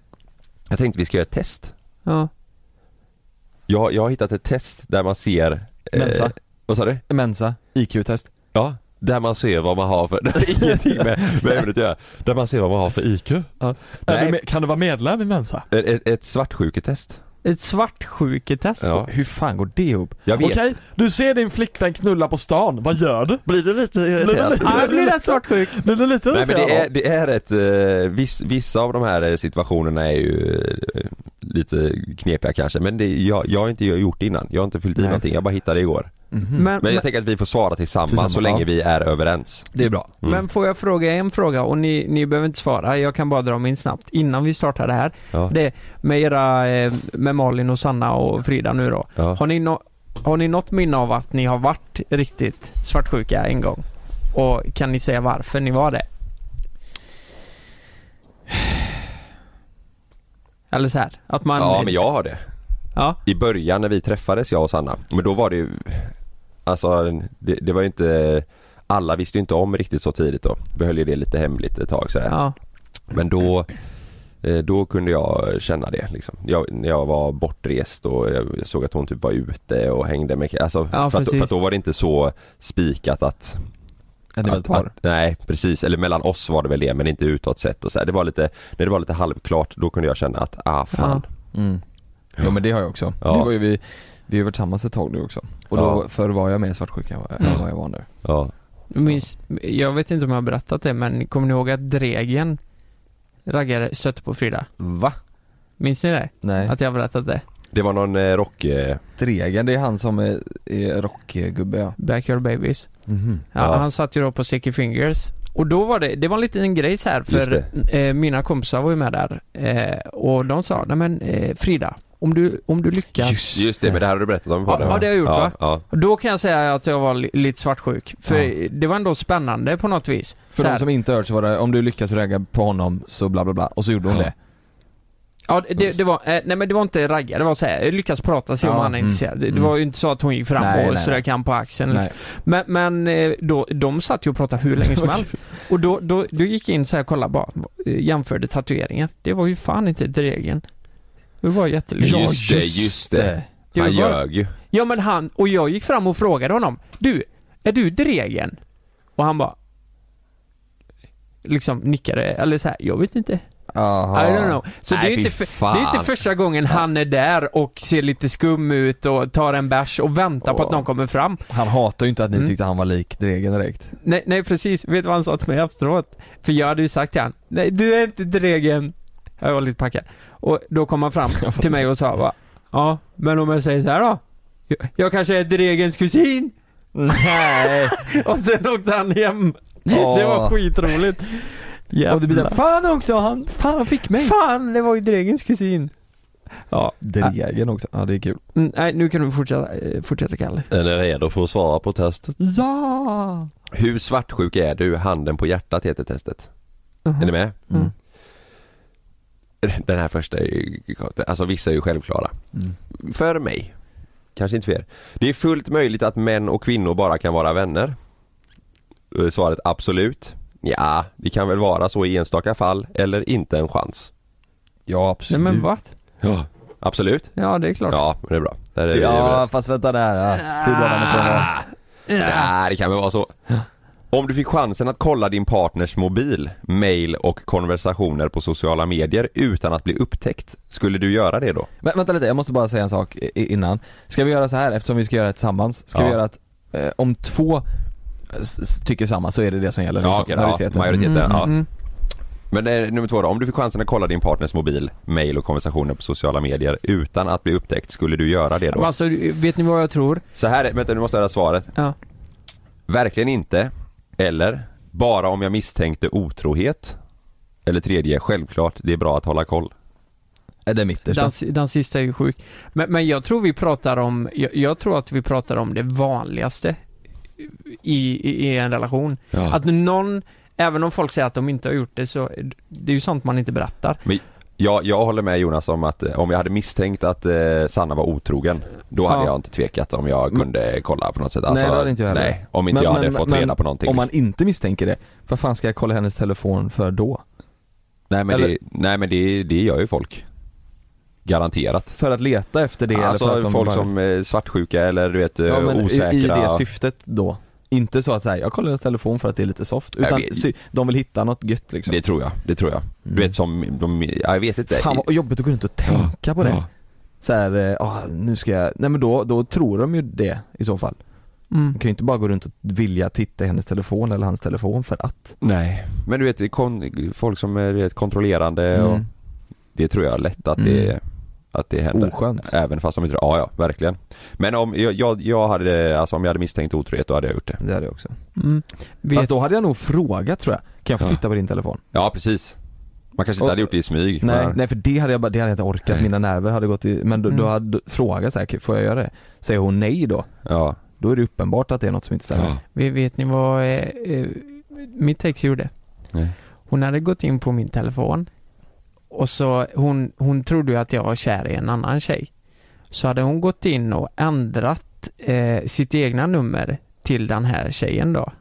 Speaker 3: Jag tänkte vi ska göra ett test.
Speaker 4: Ja.
Speaker 3: Jag, jag har hittat ett test där man ser... eh,
Speaker 2: Mensa.
Speaker 3: Vad sa du?
Speaker 2: Mensa, IQ-test.
Speaker 3: Ja, där man ser vad man har för... Det har ingenting med, med ämnet att göra. Där man ser vad man har för IQ. Är du med-
Speaker 2: kan du vara medlem i Mensa?
Speaker 3: Ett, ett, ett svartsjuketest.
Speaker 4: Ett svartsjuketest?
Speaker 3: Ja.
Speaker 2: Hur fan går det ihop?
Speaker 3: Jag vet.
Speaker 2: du ser din flickvän knulla på stan, vad gör du?
Speaker 3: Blir du lite irriterad?
Speaker 4: Ja, jag blir rätt svartsjuk.
Speaker 2: Blir du lite
Speaker 3: Nej men det är, det är ett, eh, viss, vissa av de här eh, situationerna är ju eh, lite knepiga kanske men det, jag, jag har inte gjort det innan, jag har inte fyllt i
Speaker 2: Nej.
Speaker 3: någonting, jag bara hittade det igår.
Speaker 4: Men,
Speaker 3: Mm. Men
Speaker 4: men,
Speaker 3: jag tänker att vi får svara tillsammans,
Speaker 2: Tillsammans,
Speaker 3: så länge
Speaker 2: ja.
Speaker 3: vi är överens.
Speaker 2: det är bra.
Speaker 3: Mm.
Speaker 4: men får jag fråga en fråga? Och ni, ni behöver inte svara, jag kan bara dra min snabbt innan vi startar det här.
Speaker 3: Ja.
Speaker 4: Det, med era, eh, med Malin och Sanna och Frida nu då.
Speaker 3: Ja.
Speaker 4: Har ni, nå har ni något minne av att ni har varit riktigt svartsjuka en gång? Och kan ni säga varför ni var det? Eller så här, att man...
Speaker 3: ja men jag har det.
Speaker 4: Ja,
Speaker 3: I början när vi träffades jag och Sanna, men då var det ju Alltså det, det var ju inte Alla visste ju inte om riktigt så tidigt då. Vi höll ju det lite hemligt ett tag sådär.
Speaker 4: ja,
Speaker 3: Men då eh, då kunde jag känna det liksom. jag, När jag var bortrest och jag såg att hon typ var ute och hängde med alltså,
Speaker 4: Ja,
Speaker 3: för, att,
Speaker 4: precis.
Speaker 3: för att då var det inte så spikat att,
Speaker 2: Ja, det är väl ett
Speaker 3: att,
Speaker 2: par.
Speaker 3: att Nej precis, eller mellan oss var det väl det men inte utåt sett och så här. Det var lite, när det var lite halvklart då kunde jag känna att ah fan
Speaker 2: Mm. Ja men det har jag också.
Speaker 3: Ja.
Speaker 2: Det var ju vi, vi har varit tillsammans ett tag nu också. Och då,
Speaker 3: Ja. Mm.
Speaker 2: förr var jag mer svartsjuk än vad- än vad jag var nu.
Speaker 3: Ja,
Speaker 4: jag minns, jag vet inte om jag har berättat det men kommer ni ihåg att Dregen raggare stötte på Frida?
Speaker 2: Va?
Speaker 4: Minns ni det?
Speaker 2: Nej.
Speaker 4: Att jag har berättat det?
Speaker 3: Det var någon eh, rock... Eh,
Speaker 2: Dregen, det är han som är, är rockgubbe ja.
Speaker 4: Backyard Babies.
Speaker 2: Mhm.
Speaker 4: Ja,
Speaker 3: Ja.
Speaker 4: Han satt ju då på Sticky Fingers. Och då var det, det var en liten grej så här för
Speaker 3: Just
Speaker 4: eh, mina kompisar var ju med där eh, och de sa, nej men eh, Frida, om du, om du lyckas
Speaker 3: Just det, men det här har du berättat om i podden
Speaker 4: Ja, det har jag gjort,
Speaker 3: ja,
Speaker 4: va?
Speaker 3: Ja.
Speaker 4: Då kan jag säga att jag var li- lite svartsjuk, för det var ändå spännande på något vis.
Speaker 2: För
Speaker 4: Så
Speaker 2: de
Speaker 4: här.
Speaker 2: som inte hört så var det, om du lyckas ragga på honom så bla bla bla, och så gjorde hon
Speaker 3: Ja.
Speaker 2: det.
Speaker 4: Ja, det, det var, eh, nej men det var inte ragga, det var så här, jag lyckas prata se om
Speaker 2: Ja,
Speaker 4: han är
Speaker 2: mm,
Speaker 4: intresserad. Det, det
Speaker 2: mm.
Speaker 4: var ju inte så att hon gick fram
Speaker 2: Nej, nej,
Speaker 4: och
Speaker 2: nej.
Speaker 4: strök han på axeln. Liksom. Men, men eh, då, de satt ju och pratade hur länge som helst. Och då, då, då gick jag in så här och kollade bara, eh, jämförde tatueringar. Det var ju fan inte regeln. Det var jättelyckligt.
Speaker 3: Ja, just det, just det.
Speaker 4: Det
Speaker 3: Han
Speaker 4: var-
Speaker 3: ljög ju.
Speaker 4: Ja men han, och jag gick fram och frågade honom Du, är du Dregen? Och han bara Liksom nickade, eller så här, jag vet inte
Speaker 2: Jaha.
Speaker 4: I don't know Så
Speaker 3: Nej,
Speaker 4: det, är
Speaker 3: fy
Speaker 4: inte för,
Speaker 3: fan.
Speaker 4: det är inte första gången han är där och ser lite skum ut och tar en bärs och väntar på
Speaker 3: Åh.
Speaker 4: att någon kommer fram
Speaker 2: Han hatar ju inte att ni
Speaker 4: Mm.
Speaker 2: tyckte han var lik Dregen direkt.
Speaker 4: Nej, nej precis, vet du vad han sa till mig efteråt? För jag hade ju sagt till han, nej du är inte Dregen Jag var lite packad Och då kom han fram till mig och sa va, Ja, men om jag säger så här då? Jag, jag kanske är Dregens kusin?
Speaker 2: Nej.
Speaker 4: Och sen åkte han hem. Det var
Speaker 2: Åh.
Speaker 4: skitroligt.
Speaker 2: Och det blir såhär, fan också, han, fan han fick mig.
Speaker 4: Fan, det var ju Dregens kusin. Ja.
Speaker 2: Dregen också, ja det är kul.
Speaker 4: Mm, Nej, nu kan du fortsätta, eh, fortsätta Kalle.
Speaker 3: Är ni redo för att svara på testet?
Speaker 2: Ja!
Speaker 3: Hur svartsjuk är du? Handen på hjärtat heter testet. Är ni med?
Speaker 4: Mm.
Speaker 3: Den här första är ju, alltså vissa är ju självklara. För mig, kanske inte för er. Det är fullt möjligt att män och kvinnor bara kan vara vänner. Då är svaret absolut. Ja, det kan väl vara så i enstaka fall eller inte en chans.
Speaker 2: Ja
Speaker 4: Nej
Speaker 2: absolut.
Speaker 4: men vad?
Speaker 3: Ja. Absolut?
Speaker 4: Ja, det är klart.
Speaker 3: Ja, men det är bra. Där är Ah. vi överens.
Speaker 2: Ja fast vänta där, ja. hur drar han ifrån det?
Speaker 3: Nej, det kan väl vara så. Om du fick chansen att kolla din partners mobil, mail och konversationer på sociala medier utan att bli upptäckt, skulle du göra det då?
Speaker 2: Men vänta lite, jag måste bara säga en sak i- innan. Ska vi göra så här eftersom vi ska göra det tillsammans? Ska
Speaker 3: Ja.
Speaker 2: vi göra att eh, om två s- s- tycker samma så är det det som gäller? liksom,
Speaker 3: okej, ja, majoriteten.
Speaker 4: Mm,
Speaker 3: ja.
Speaker 4: mm.
Speaker 3: Men det är nummer två då, om du fick chansen att kolla din partners mobil, mail och konversationer på sociala medier utan att bli upptäckt, skulle du göra det
Speaker 4: Men
Speaker 3: då?
Speaker 4: Alltså, vet ni vad jag tror?
Speaker 3: Så här är, vänta nu måste jag höra svaret.
Speaker 4: Ja.
Speaker 3: Verkligen inte, eller bara om jag misstänkte otrohet. Eller tredje, självklart, det är bra att hålla koll.
Speaker 2: Är det mitt
Speaker 4: Den, si- den sista är ju sjuk. Men, men jag tror vi pratar om, jag, jag tror att vi pratar om det vanligaste i, i, i en relation. Att någon, även om folk säger att de inte har gjort det så, det är ju sånt man inte berättar.
Speaker 3: Jag, jag håller med Jonas om att eh, om jag hade misstänkt att eh, Sanna var otrogen Då hade
Speaker 4: Ja.
Speaker 3: jag inte tvekat om jag kunde kolla på något sätt alltså,
Speaker 2: nej det hade inte jag heller.
Speaker 3: Nej, om inte jag hade fått
Speaker 2: men
Speaker 3: reda på någonting liksom.
Speaker 2: Om man inte misstänker det, vad fan ska jag kolla hennes telefon för då?
Speaker 3: Nej men,
Speaker 2: eller-
Speaker 3: det, nej, men det, det gör ju folk Garanterat
Speaker 2: För att leta efter det eller för att
Speaker 3: Alltså
Speaker 2: de
Speaker 3: folk
Speaker 2: bara-
Speaker 3: som är svartsjuka eller du vet eh,
Speaker 2: ja, men i-
Speaker 3: osäkra
Speaker 2: I det syftet då. Inte så att säga, jag kollar hennes telefon för att det är lite soft.
Speaker 3: Nej,
Speaker 2: Utan
Speaker 3: vi-
Speaker 2: sy- de vill hitta något gött liksom.
Speaker 3: Det tror jag, det tror jag Du vet som, de, ja, jag vet inte
Speaker 2: Mm. Fan vad jobbigt att gå runt och tänka på det.
Speaker 3: Ja.
Speaker 2: Så här, eh, ah, nu ska jag, nej men då, då tror de ju det i så fall.
Speaker 4: Mm.
Speaker 2: Man kan ju inte bara gå runt och vilja titta i hennes telefon eller hans telefon för att.
Speaker 3: Nej, men du vet det är kon, folk som är du vet, kontrollerande och Det tror jag är lätt att det,
Speaker 2: Mm.
Speaker 3: att det händer
Speaker 2: Oskönt.
Speaker 3: Även fast de inte, ja ja verkligen Men om jag, jag, jag hade, alltså om jag hade misstänkt otrohet då hade jag gjort det
Speaker 2: Det hade jag också.
Speaker 4: Mm. Vet,
Speaker 2: Fast då hade jag nog frågat tror jag. Kan jag få
Speaker 3: Ja.
Speaker 2: titta på din telefon?
Speaker 3: Ja precis Man kanske inte
Speaker 2: Och-
Speaker 3: hade gjort det i smyg
Speaker 2: Nej,
Speaker 3: men,
Speaker 2: nej för det hade jag bara, det hade jag inte orkat.
Speaker 3: Nej.
Speaker 2: Mina nerver hade gått i, men då, då
Speaker 4: Mm.
Speaker 2: hade du frågat så här, får jag göra det? Säger hon nej då,
Speaker 3: Ja,
Speaker 2: då är det uppenbart att det är något som inte stämmer.
Speaker 3: ja.
Speaker 4: vet, vet ni vad eh, eh, mitt ex gjorde?
Speaker 3: Nej.
Speaker 4: Hon hade gått in på min telefon och så, hon, hon trodde ju att jag var kär i en annan tjej. Så hade hon gått in och ändrat eh, sitt egna nummer till den här tjejen då.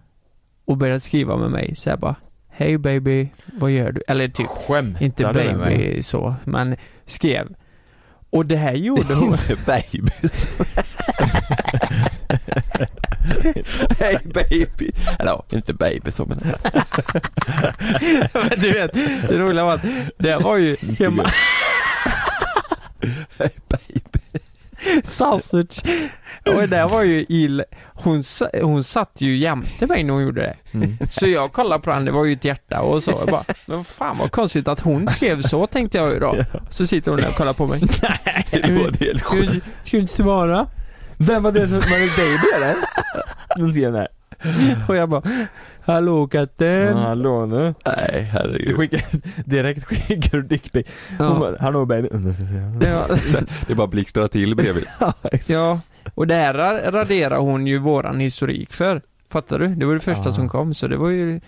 Speaker 4: Och börjat skriva med mig så jag bara Hej baby, vad gör du? Eller typ
Speaker 2: Skämtar
Speaker 4: inte baby så, men skrev. Och det här gjorde hon.
Speaker 3: baby Hej baby! Eller inte baby så men
Speaker 4: Men du vet, det roliga var att det här var ju hemma... Typ. Sausage. Och det här var ju ill. Hon, sa- hon satt ju jämte mig när hon gjorde det.
Speaker 2: Mm.
Speaker 4: Så jag kollade på henne, det var ju ett hjärta och så. Jag bara, men fan vad konstigt att hon skrev så tänkte jag ju då. Så sitter hon där och kollar på mig. Nej, Ska du ska du inte svara?
Speaker 2: Vem var det som var baby eller? Någon senare.
Speaker 4: Och jag bara, hallå katten.
Speaker 2: Hallå nu.
Speaker 3: Nej
Speaker 2: Du
Speaker 3: herregud
Speaker 2: skickar, direkt skickar du dickpic. Hon
Speaker 4: Ja.
Speaker 2: bara, hallå baby.
Speaker 4: Ja.
Speaker 3: Det bara blixtrar till bredvid
Speaker 4: Ja, och det här ra- raderar hon ju våran historik för. Fattar du? Det var det första
Speaker 2: Ja.
Speaker 4: som kom, så det var ju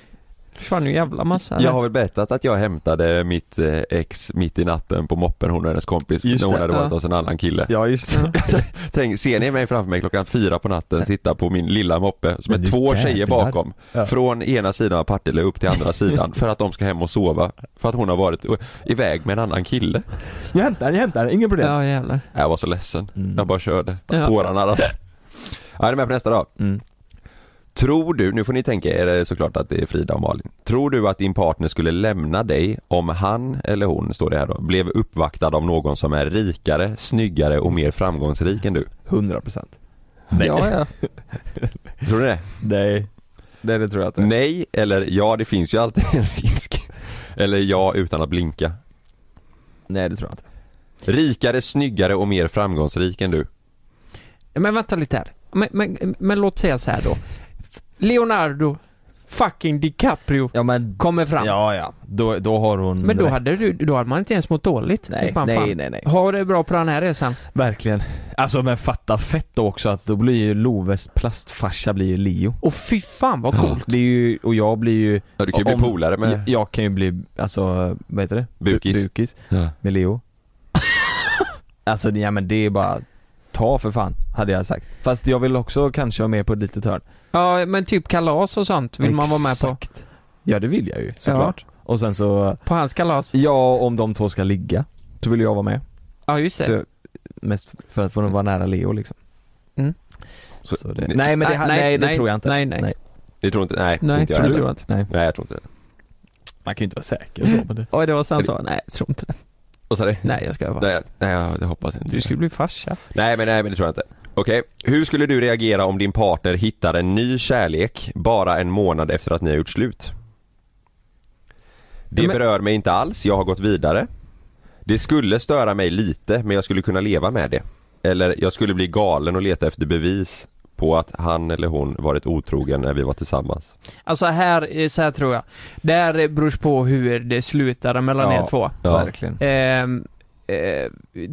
Speaker 4: Försvann ju en jävla massa. eller?
Speaker 3: Jag har väl berättat att jag hämtade mitt eh, ex mitt i natten på moppen, hon och hennes kompis, när
Speaker 2: Just
Speaker 3: hon
Speaker 2: det,
Speaker 3: hade varit
Speaker 4: ja.
Speaker 3: hos en annan kille.
Speaker 2: Ja just det.
Speaker 3: Tänk, ser ni mig framför mig klockan fyra på natten sitta på min lilla moppe som
Speaker 2: Men
Speaker 3: är
Speaker 2: du
Speaker 3: två tjejer
Speaker 2: jävlar.
Speaker 3: bakom.
Speaker 2: Ja.
Speaker 3: Från ena sidan av Partille upp till andra sidan för att de ska hem och sova. För att hon har varit eh, iväg med en annan kille.
Speaker 2: Jag hämtar, jag hämtar, inga problem.
Speaker 4: Ja jävlar.
Speaker 3: Jag var så ledsen.
Speaker 2: Mm.
Speaker 3: Jag bara körde.
Speaker 4: Ja.
Speaker 3: Tårarna rann. Ja, är du med på nästa då?
Speaker 2: Mm.
Speaker 3: Tror du, nu får ni tänka er eh, såklart att det är Frida och Malin. Tror du att din partner skulle lämna dig om han eller hon, står det här då, blev uppvaktad av någon som är rikare, snyggare och mer framgångsrik än du?
Speaker 2: 100%.
Speaker 4: Ja, ja.
Speaker 3: Tror du det?
Speaker 2: Nej. Nej det tror jag inte.
Speaker 3: Nej eller ja, det finns ju alltid en risk. Eller ja utan att blinka.
Speaker 2: Nej det tror jag inte.
Speaker 3: Rikare, snyggare och mer framgångsrik än du.
Speaker 4: Men vänta lite här. Men, men, men låt säga så här då. Leonardo fucking DiCaprio
Speaker 2: Ja men
Speaker 4: kommer fram.
Speaker 2: Ja ja, då, då har hon
Speaker 4: Men då
Speaker 2: rätt.
Speaker 4: hade, du, då hade man inte ens mått dåligt.
Speaker 2: Nej,
Speaker 4: Typ, man,
Speaker 2: nej,
Speaker 4: fan,
Speaker 2: nej, nej.
Speaker 4: Ha det bra på den här resan.
Speaker 2: Verkligen. Alltså men fatta fett då också att då blir ju Loves plastfarsa blir ju Leo.
Speaker 4: Och fy fan vad coolt.
Speaker 2: Det är ju, och jag blir ju...
Speaker 3: Ja, du kan ju bli polare med-
Speaker 2: Jag, jag kan ju bli, alltså vad heter det?
Speaker 3: Bukis.
Speaker 2: Bu- Bukis med Leo. alltså det- ja men det är bara, ta för fan, hade jag sagt. Fast jag vill också kanske vara med på ett litet hörn.
Speaker 4: Ja men typ kalas och sånt vill man vara med på.
Speaker 2: Exakt. Ja det vill jag ju såklart. Och sen så,
Speaker 4: På hans kalas.
Speaker 2: ja om de två ska ligga, så vill jag vara med.
Speaker 4: Ja just det.
Speaker 2: Så, mest för att få vara nära Leo liksom.
Speaker 4: Mm.
Speaker 3: Så-
Speaker 2: Så det, nej men det, nej, det tror jag inte.
Speaker 4: Nej nej.
Speaker 2: Nej.
Speaker 4: Nej,
Speaker 3: Ni tror inte, nej,
Speaker 4: nej
Speaker 3: inte jag
Speaker 4: tror du
Speaker 3: heller.
Speaker 4: tror inte.
Speaker 2: Nej.
Speaker 3: Nej, jag tror inte det.
Speaker 2: Man kan ju inte vara säker så på det.
Speaker 4: Oj det var så han sa. Nej jag tror inte det.
Speaker 3: Vad sa du?
Speaker 4: Nej jag ska vara.
Speaker 3: Nej, nej jag, jag hoppas inte
Speaker 4: Du skulle bli farsa.
Speaker 3: Nej men nej men det tror jag inte. Okej, hur skulle du reagera om din partner hittar en ny kärlek bara en månad efter att ni har gjort slut? Det
Speaker 4: Men-
Speaker 3: berör mig inte alls, jag har gått vidare. Det skulle störa mig lite men jag skulle kunna leva med det. Eller jag skulle bli galen och leta efter bevis på att han eller hon varit otrogen när vi var tillsammans.
Speaker 4: Alltså här, eh, så här tror jag. Där eh, beror på hur det slutade mellan
Speaker 2: Ja.
Speaker 4: er två.
Speaker 3: Ja.
Speaker 2: Verkligen.
Speaker 4: Ehm, eh,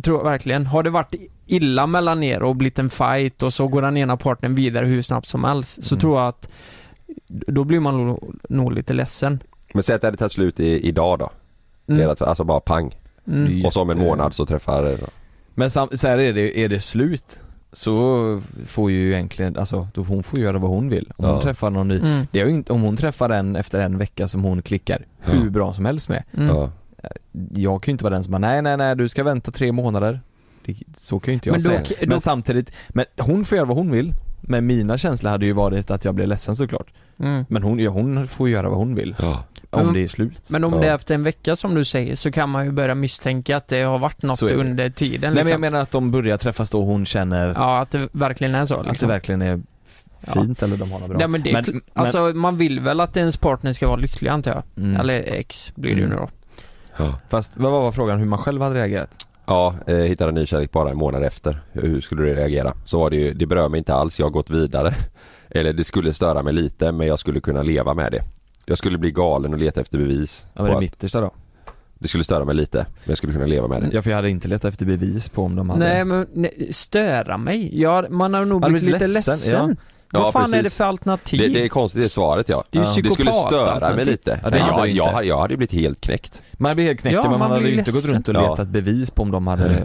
Speaker 4: tror jag verkligen. Har det varit illa mellan er och blivit en fight och så går den ena parten vidare hur snabbt som helst så
Speaker 2: Mm.
Speaker 4: tror jag att då blir man nog- nog lite ledsen.
Speaker 3: Men säg att det hade tagit slut i, idag då.
Speaker 4: Mm.
Speaker 3: Ert- Alltså bara pang.
Speaker 4: Mm.
Speaker 3: Och så om en
Speaker 2: Jätte-
Speaker 3: månad så träffar...
Speaker 2: Men sam- så här är det, är det slut så får ju egentligen, alltså då får hon får göra vad hon vill. Om hon
Speaker 3: Ja.
Speaker 2: träffar någon ny,
Speaker 4: Mm.
Speaker 2: det är ju inte, om hon träffar en efter en vecka som hon klickar hur bra som helst med.
Speaker 4: Mm.
Speaker 3: Ja.
Speaker 2: Jag kan ju inte vara den som bara nej nej nej du ska vänta tre månader. Det, så kan ju inte jag
Speaker 4: Men då-
Speaker 2: säga.
Speaker 4: då-
Speaker 2: men samtidigt, men hon får göra vad hon vill. Men mina känslor hade ju varit att jag blev ledsen såklart.
Speaker 4: Mm.
Speaker 2: Men hon, ja, hon får göra vad hon vill.
Speaker 3: Ja.
Speaker 2: Om
Speaker 4: Men-
Speaker 2: det är slut.
Speaker 4: Men om
Speaker 3: Ja.
Speaker 4: det är efter en vecka som du säger så kan man ju börja misstänka att det har varit något
Speaker 2: Så är det.
Speaker 4: under tiden
Speaker 2: Nej men jag
Speaker 4: liksom.
Speaker 2: menar att de börjar träffas då hon känner
Speaker 4: Ja, att det verkligen är så
Speaker 2: Typ. Att det
Speaker 4: liksom.
Speaker 2: verkligen är
Speaker 4: Ja.
Speaker 2: fint eller de har något bra.
Speaker 4: Nej, men det, är
Speaker 2: Men-
Speaker 4: kl-
Speaker 2: men-
Speaker 4: alltså man vill väl att ens partner ska vara lycklig antar jag.
Speaker 2: Mm.
Speaker 4: Eller ex blir det ju nu
Speaker 2: Mm.
Speaker 4: då.
Speaker 3: Ja.
Speaker 2: Fast vad var vad frågan, hur man själv hade reagerat?
Speaker 3: Ja, eh, hittade en ny kärlek bara en månad efter. Hur skulle du reagera? Så var det ju, det berör mig inte alls, jag har gått vidare. Eller det skulle störa mig lite men jag skulle kunna leva med det. Jag skulle bli galen och leta efter bevis.
Speaker 2: Ja, men
Speaker 3: på
Speaker 2: det
Speaker 3: att
Speaker 2: mittersta då?
Speaker 3: det skulle störa mig lite men jag skulle kunna leva med det.
Speaker 2: Ja för jag hade inte letat efter bevis på om de hade...
Speaker 4: Nej men nej, störa mig? Ja, man har nog
Speaker 2: Har du
Speaker 4: blivit lite
Speaker 2: blivit
Speaker 4: ledsen.
Speaker 2: ledsen?
Speaker 3: Ja.
Speaker 4: Vad
Speaker 3: Ja,
Speaker 4: fan är
Speaker 3: precis.
Speaker 4: det för alternativ?
Speaker 3: Det, det är konstigt, det är svaret ja.
Speaker 4: Det är ju
Speaker 3: Det skulle störa mig
Speaker 4: psykopatalternativ.
Speaker 3: lite.
Speaker 2: Ja, det
Speaker 3: Nej,
Speaker 2: hade
Speaker 3: jag,
Speaker 2: du inte.
Speaker 3: jag, hade- jag hade ju blivit helt knäckt.
Speaker 2: Man blir helt knäckt
Speaker 4: Ja,
Speaker 2: men man,
Speaker 4: man
Speaker 2: hade
Speaker 4: blir
Speaker 2: ju inte gått
Speaker 4: ledsen.
Speaker 2: runt och
Speaker 3: Ja.
Speaker 2: letat bevis på om de hade
Speaker 3: Nej,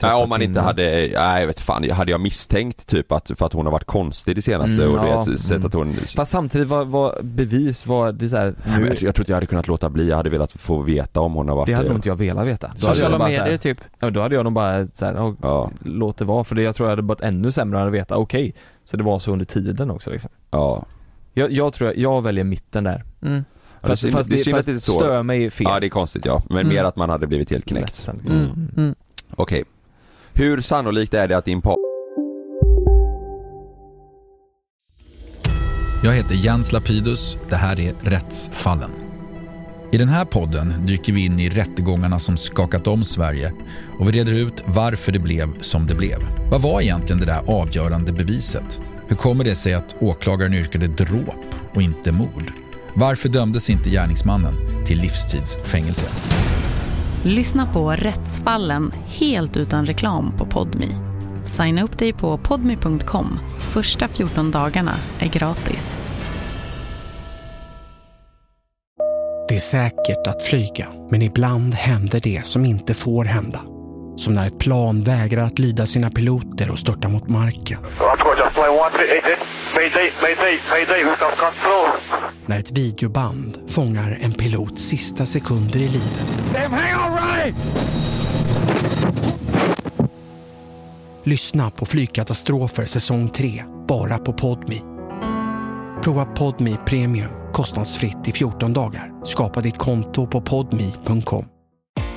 Speaker 2: träffats
Speaker 3: om man inte
Speaker 2: innan.
Speaker 3: hade, nej jag vet fan, hade jag misstänkt typ att, för att hon har varit konstig det senaste
Speaker 2: Mm,
Speaker 3: och du
Speaker 2: ja,
Speaker 3: vet, sett
Speaker 2: mm.
Speaker 3: att hon
Speaker 2: Fast samtidigt var, var bevis, var det så här,
Speaker 3: Men alltså,
Speaker 2: nu,
Speaker 3: jag, jag tror inte jag hade kunnat låta bli, jag hade velat få veta om hon har varit
Speaker 2: det hade nog inte jag velat veta. Då hade jag
Speaker 4: Sociala
Speaker 2: nog bara så
Speaker 4: medier
Speaker 2: här,
Speaker 4: typ.
Speaker 2: ja, då hade jag nog bara så här, ja,
Speaker 3: Ja,
Speaker 2: låt det vara för det, jag tror jag hade varit ännu sämre att veta, okej. Så det var så under tiden också liksom.
Speaker 3: ja.
Speaker 2: Jag, jag tror jag, jag väljer mitten där.
Speaker 4: Mm.
Speaker 3: Ja, det är
Speaker 2: Fast,
Speaker 3: synd-
Speaker 2: fast,
Speaker 3: det är
Speaker 2: det,
Speaker 3: synd att
Speaker 2: fast
Speaker 3: det är så.
Speaker 2: stör mig fel.
Speaker 3: Ja det är konstigt ja, men
Speaker 4: Mm.
Speaker 3: mer att man hade blivit helt knäckt.
Speaker 2: Ledsen, liksom.
Speaker 4: Mm.
Speaker 2: Mm.
Speaker 4: Mm.
Speaker 3: Okej. Hur sannolikt är det att din par...
Speaker 5: Jag heter Jens Lapidus. Det här är Rättsfallen. I den här podden dyker vi in i rättegångarna som skakat om Sverige och vi reder ut varför det blev som det blev. Vad var egentligen det där avgörande beviset? Hur kommer det sig att åklagaren yrkade dråp och inte mord? Varför dömdes inte gärningsmannen till livstidsfängelse?
Speaker 6: Lyssna på Rättsfallen helt utan reklam på Podmi. Signa upp dig på podmi.com. Första 14 dagarna är gratis.
Speaker 7: Det är säkert att flyga, men ibland händer det som inte får hända. Som när ett plan vägrar att lyda sina piloter och störtar mot marken. När ett videoband fångar en pilots sista sekunder i livet. Lyssna på Flygkatastrofer säsong 3, bara på Podmi. Prova Podmi Premium kostnadsfritt i 14 dagar. Skapa ditt konto på podmi.com.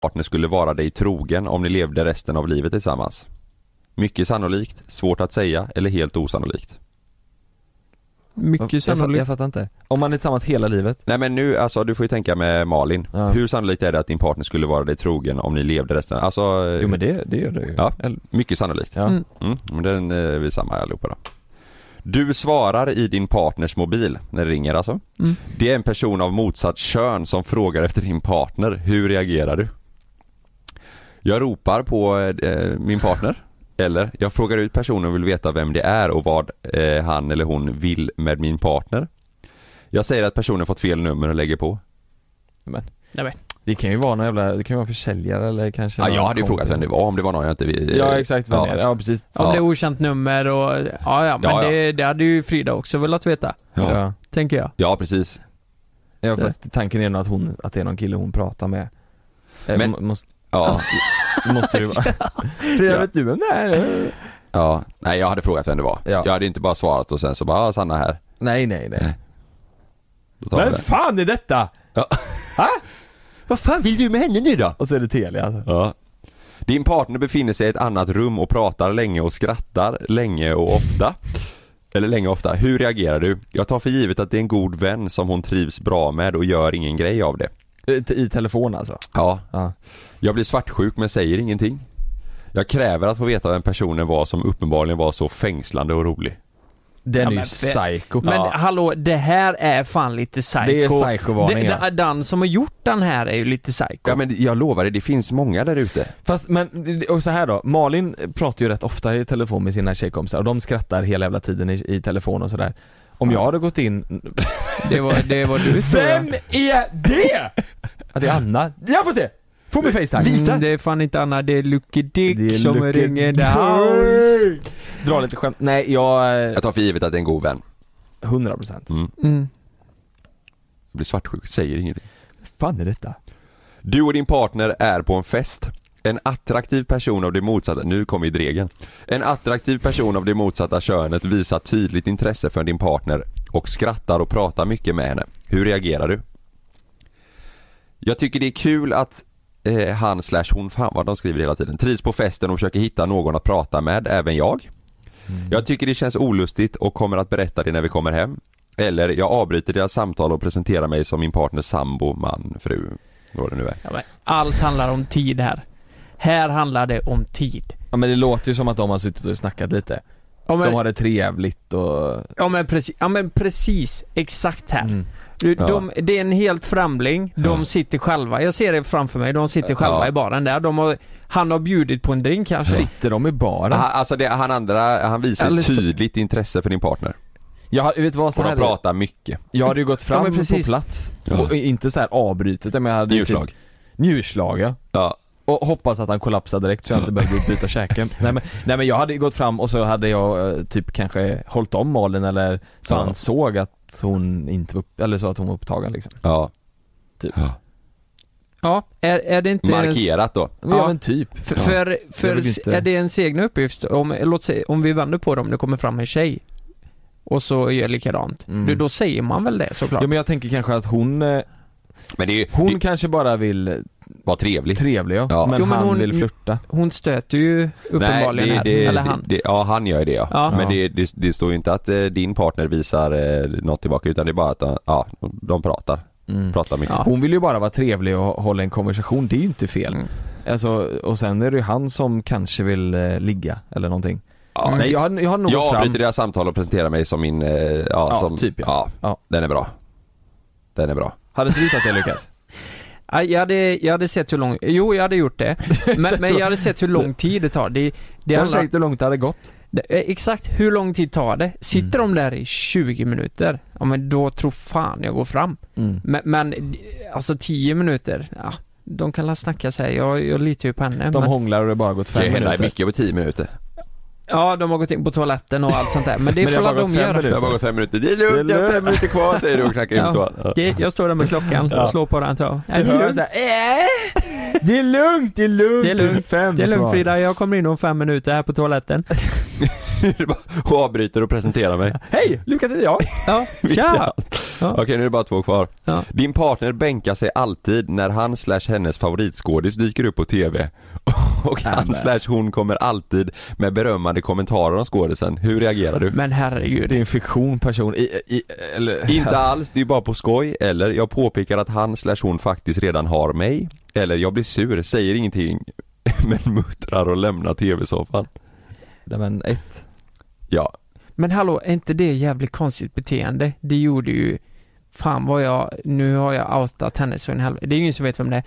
Speaker 3: partner skulle vara dig trogen om ni levde resten av livet tillsammans? Mycket sannolikt, svårt att säga eller helt osannolikt.
Speaker 2: Mycket jag, sannolikt. Jag, fattar inte. Om man är tillsammans hela livet?
Speaker 3: Nej men nu, alltså du får ju tänka med Malin.
Speaker 2: Ja.
Speaker 3: Hur sannolikt är det att din partner skulle vara dig trogen om ni levde resten, alltså...
Speaker 2: Jo men det, det gör det ju.
Speaker 3: Ja, mycket sannolikt.
Speaker 2: Ja.
Speaker 3: Mm. men den eh, är vi samma allihopa då. Du svarar i din partners mobil när det ringer alltså.
Speaker 4: Mm.
Speaker 3: Det är en person av motsatt kön som frågar efter din partner. Hur reagerar du? Jag ropar på eh, min partner. Eller, jag frågar ut personen och vill veta vem det är och vad eh, han eller hon vill med min partner. Jag säger att personen fått fel nummer och lägger på.
Speaker 2: Men,
Speaker 4: Nej, men.
Speaker 2: det kan ju vara någon jävla, det kan ju vara en försäljare eller kanske
Speaker 3: Ja,
Speaker 2: någon
Speaker 3: jag hade ju
Speaker 2: kompis.
Speaker 3: frågat vem det var om det var någon jag inte vill.
Speaker 2: Ja exakt, vem det är. ja precis.
Speaker 3: Ja.
Speaker 4: Om det är okänt nummer och, ja ja, men
Speaker 3: Ja, ja.
Speaker 4: Det, det hade ju Frida också velat veta,
Speaker 3: Ja.
Speaker 2: Ja.
Speaker 4: tänker jag.
Speaker 3: Ja, precis.
Speaker 2: Ja fast tanken är nog att hon, att det är någon kille hon pratar med Eh,
Speaker 3: Men-
Speaker 2: må- måste,
Speaker 3: Ja,
Speaker 2: måste det vara? Frida
Speaker 3: Ja.
Speaker 2: vet du vem det är?
Speaker 3: ja. Nej, jag hade frågat vem det var.
Speaker 2: Ja.
Speaker 3: Jag hade inte bara svarat och sen så bara, ah, Sanna här.
Speaker 2: Nej nej nej
Speaker 3: Då tar vi
Speaker 2: Vem
Speaker 3: det.
Speaker 2: fan är detta?
Speaker 3: Ja.
Speaker 2: Ha?
Speaker 3: Vad fan vill du med henne nu då?
Speaker 2: Och så är det Telia alltså.
Speaker 3: Ja. Din partner befinner sig i ett annat rum och pratar länge och skrattar länge och ofta. Eller länge och ofta. Hur reagerar du? Jag tar för givet att det är en god vän som hon trivs bra med och gör ingen grej av det.
Speaker 2: I, I telefon alltså?
Speaker 3: Ja.
Speaker 2: Ja.
Speaker 3: Jag blir svartsjuk men säger ingenting. Jag kräver att få veta vem personen var som uppenbarligen var så fängslande och rolig.
Speaker 2: Den
Speaker 4: Ja,
Speaker 2: är ju
Speaker 4: men fe-
Speaker 2: psycho
Speaker 4: Men
Speaker 2: Ja.
Speaker 4: hallå, det här är fan lite psycho.
Speaker 2: Det är psykovarning,
Speaker 4: Den-
Speaker 2: ja.
Speaker 4: Den som har gjort den här är ju lite psycho.
Speaker 3: Ja men jag lovar dig, det finns många där ute.
Speaker 2: Fast men, och så här då, Malin pratar ju rätt ofta i telefon med sina tjejkompisar och de skrattar hela jävla tiden i, i telefon och sådär Om jag hade gått in,
Speaker 4: Det var, det var du tror jag.
Speaker 2: Vem är det? Ja det är Anna, jag får se! Få mig facetime
Speaker 4: Mm, det är fan inte Anna, det är Lucky Dick
Speaker 2: Det är
Speaker 4: som
Speaker 2: Lucky
Speaker 4: ringer
Speaker 2: Dick.
Speaker 4: där.
Speaker 2: Dra lite skämt, nej jag, eh,
Speaker 3: Jag tar för givet att det är en god vän.
Speaker 2: 100%
Speaker 3: Mm.
Speaker 4: Mm.
Speaker 3: Jag blir svartsjuk, säger ingenting.
Speaker 2: fan är detta?
Speaker 3: Du och din partner är på en fest. En attraktiv person av det motsatta, nu kommer ju dregen. En attraktiv person av det motsatta könet visar tydligt intresse för din partner och skrattar och pratar mycket med henne. Hur reagerar du? Jag tycker det är kul att eh, han slash hon, fan vad de skriver hela tiden, trivs på festen och försöker hitta någon att prata med, även jag. Jag tycker det känns olustigt och kommer att berätta det när vi kommer hem. Eller jag avbryter deras samtal och presenterar mig som min partners sambo, man, fru, vad det nu är.
Speaker 4: Ja, men Allt handlar om tid här. Här handlar det om tid.
Speaker 2: Ja men det låter ju som att de har suttit och snackat lite
Speaker 4: Ja men,
Speaker 2: De har det trevligt och...
Speaker 4: ja, men, precis, ja, men precis, exakt här.
Speaker 2: Mm.
Speaker 4: Du,
Speaker 3: Ja.
Speaker 4: de, det är en helt främling, de sitter själva, jag ser det framför mig, de sitter själva
Speaker 3: Ja.
Speaker 4: i baren där. De har, han har bjudit på en drink kanske.
Speaker 2: Sitter de i baren?
Speaker 3: Han, alltså det, han andra, han visar
Speaker 4: Eller-
Speaker 3: tydligt intresse för din partner.
Speaker 2: Jag har, vet du vad, så
Speaker 3: Och de
Speaker 2: här är det.
Speaker 3: pratar mycket.
Speaker 2: Jag hade ju gått
Speaker 4: Ja,
Speaker 2: fram
Speaker 4: men
Speaker 2: på
Speaker 4: precis.
Speaker 2: plats,
Speaker 3: Ja.
Speaker 2: och inte så här avbrutet men jag hade ju
Speaker 3: Njurslag.
Speaker 2: Typ, njurslag ja.
Speaker 3: Ja.
Speaker 2: Och hoppas att han kollapsar direkt så jag inte behöver byta käken. Nej men, nej men jag hade ju gått fram och så hade jag eh, typ kanske hållit om Malin eller så
Speaker 3: Ja.
Speaker 2: han såg att hon inte var, upp, eller så att hon var upptagen liksom.
Speaker 3: Ja.
Speaker 2: Typ.
Speaker 3: Ja.
Speaker 4: Ja, är, är det inte... ens-
Speaker 3: Markerat då.
Speaker 2: Men ja.
Speaker 4: Ja.
Speaker 2: men typ.
Speaker 4: För, för, för
Speaker 2: vill
Speaker 4: s-
Speaker 2: inte-
Speaker 4: är det ens egna uppgift? Om, låt säga, om vi vänder på det, om det kommer fram en tjej och så gör likadant.
Speaker 2: Mm.
Speaker 4: Du, då säger man väl det såklart?
Speaker 2: Ja men jag tänker kanske att hon eh, hon kanske bara vill
Speaker 3: vara trevlig.
Speaker 2: Trevlig ja. Men,
Speaker 4: Jo, men
Speaker 2: han
Speaker 4: hon-
Speaker 2: vill flirta.
Speaker 4: Hon stöter ju uppenbarligen här, eller han.
Speaker 3: Det, ja, han gör ju det ja.
Speaker 4: Ja.
Speaker 3: Men
Speaker 4: Ja.
Speaker 3: det, det, det står ju inte att eh, din partner visar eh, något tillbaka utan det är bara att eh, ja, de pratar. Pratar mycket.
Speaker 2: Hon vill ju bara vara trevlig och hålla en konversation, det är ju inte fel. Alltså, och sen är det ju han som kanske vill eh, ligga eller någonting. Nej, jag, har- jag har nog
Speaker 3: jag
Speaker 2: gått fram.
Speaker 3: avbryter deras samtal och presenterar mig som min, eh, ja,
Speaker 2: Ja,
Speaker 3: som,
Speaker 2: typ,
Speaker 3: ja. Den är bra. Den är bra.
Speaker 2: Hade inte du tagit det Lukas?
Speaker 4: Nej, Jag hade, jag hade sett hur lång, jo jag hade gjort det. Men, men jag hade sett hur lång tid det tar. Det, det
Speaker 2: Jag hade sett hur långt det hade gått.
Speaker 4: Exakt hur lång tid tar det? Sitter
Speaker 2: Mm.
Speaker 4: de där i 20 minuter, ja men då tror fan jag går fram.
Speaker 2: Mm.
Speaker 4: Men, men alltså 10 minuter, ja, de kan la snacka sig. Jag, jag litar ju på henne.
Speaker 2: De
Speaker 4: men,
Speaker 2: hånglar och det har bara gått
Speaker 3: Det
Speaker 2: fem
Speaker 3: kan hända
Speaker 2: minuter.
Speaker 3: mycket på 10 minuter.
Speaker 4: ja, de har gått in på toaletten och allt sånt där. Men det får väl de göra.
Speaker 3: Det har bara gått fem minuter. Det är lugnt,
Speaker 4: Det är
Speaker 3: jag har fem
Speaker 4: lugnt.
Speaker 3: minuter kvar säger du och knackar in toan.
Speaker 4: Ja, det- jag står där med klockan
Speaker 3: Ja.
Speaker 4: och slår på den tror jag.
Speaker 2: Du hör så "Äh!" Det är lugnt, det är lugnt.
Speaker 4: Det är lugnt,
Speaker 2: fem
Speaker 4: det är lugnt
Speaker 2: kvar.
Speaker 4: Frida, jag kommer in om fem minuter här på toaletten.
Speaker 3: och avbryter och presenterar mig.
Speaker 2: Hej! Lukas heter jag.
Speaker 4: Ja,
Speaker 3: Mitt i
Speaker 4: tja!
Speaker 3: allt. Okej nu är det bara två kvar. Din partner bänkar sig alltid när han slash hennes favoritskådis dyker upp på TV. Och han slash hon kommer alltid med berömmande kommentarer om skådisen. Hur reagerar du?
Speaker 4: Men herregud.
Speaker 2: Det är en fiktion person. I, i, eller...
Speaker 3: Inte alls, det är bara på skoj. Eller jag påpekar att han slash hon faktiskt redan har mig. Eller jag blir sur, säger ingenting men muttrar och lämnar TV-soffan.
Speaker 2: Nej men ett.
Speaker 3: Ja,
Speaker 4: Men hallå, är inte det jävligt konstigt beteende? Det gjorde ju, fan vad jag, nu har jag outat henne så en halv, det är ingen som vet vem det är.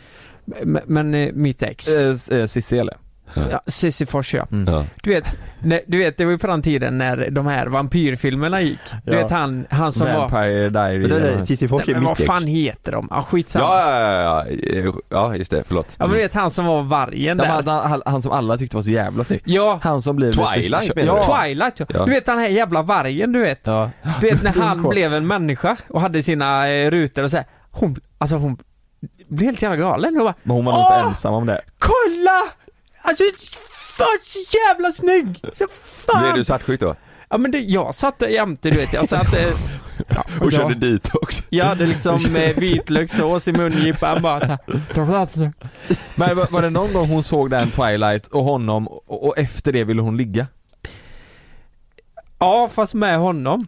Speaker 4: Men, men eh, mitt ex,
Speaker 2: Eh, eh, Cissi eller?
Speaker 4: ja, Cissi Fors ja.
Speaker 3: Ja.
Speaker 4: Du vet, när, du vet, det var ju på den tiden när de här vampyrfilmerna gick. Du
Speaker 2: Ja.
Speaker 4: vet han, han som var...
Speaker 2: Vampire Diary.
Speaker 3: Men det-
Speaker 2: eller
Speaker 3: det-
Speaker 2: nåt.
Speaker 3: Cissi Fors
Speaker 4: Nej, men vad fan heter de? Ja, skitsamma. Ja,
Speaker 3: Ja, ja, ja, ja, ja just det, förlåt. Mm.
Speaker 4: men du vet han som var vargen
Speaker 2: Ja,
Speaker 4: där.
Speaker 2: men han, han, han som alla tyckte var så jävla snygg.
Speaker 4: Ja.
Speaker 2: Han som blev
Speaker 3: Twilight,
Speaker 2: lite...
Speaker 3: menar du?
Speaker 2: Ja.
Speaker 4: Twilight ja.
Speaker 2: Ja.
Speaker 4: Du vet den här jävla vargen du vet.
Speaker 2: ja.
Speaker 4: Du vet när han
Speaker 2: Brunkort.
Speaker 4: blev en människa och hade sina eh, rutor och så här. Hon, alltså hon blev helt jävla galen och bara
Speaker 2: Men hon var nog inte
Speaker 4: Åh!
Speaker 2: ensam om det.
Speaker 4: Kolla! Alltså fan så jävla snygg! Så
Speaker 3: Blev
Speaker 4: fan!
Speaker 3: du svartsjuk då?
Speaker 4: Ja men det, jag satt där jämte du vet, jag satt eh, ja,
Speaker 3: Och körde
Speaker 4: jag,
Speaker 3: dit också?
Speaker 4: jag hade liksom eh, vitlökssås i mungipan bara så här.
Speaker 2: Men var, var det någon gång hon såg den Twilight och honom och, och efter det ville hon ligga?
Speaker 4: Ja fast med honom.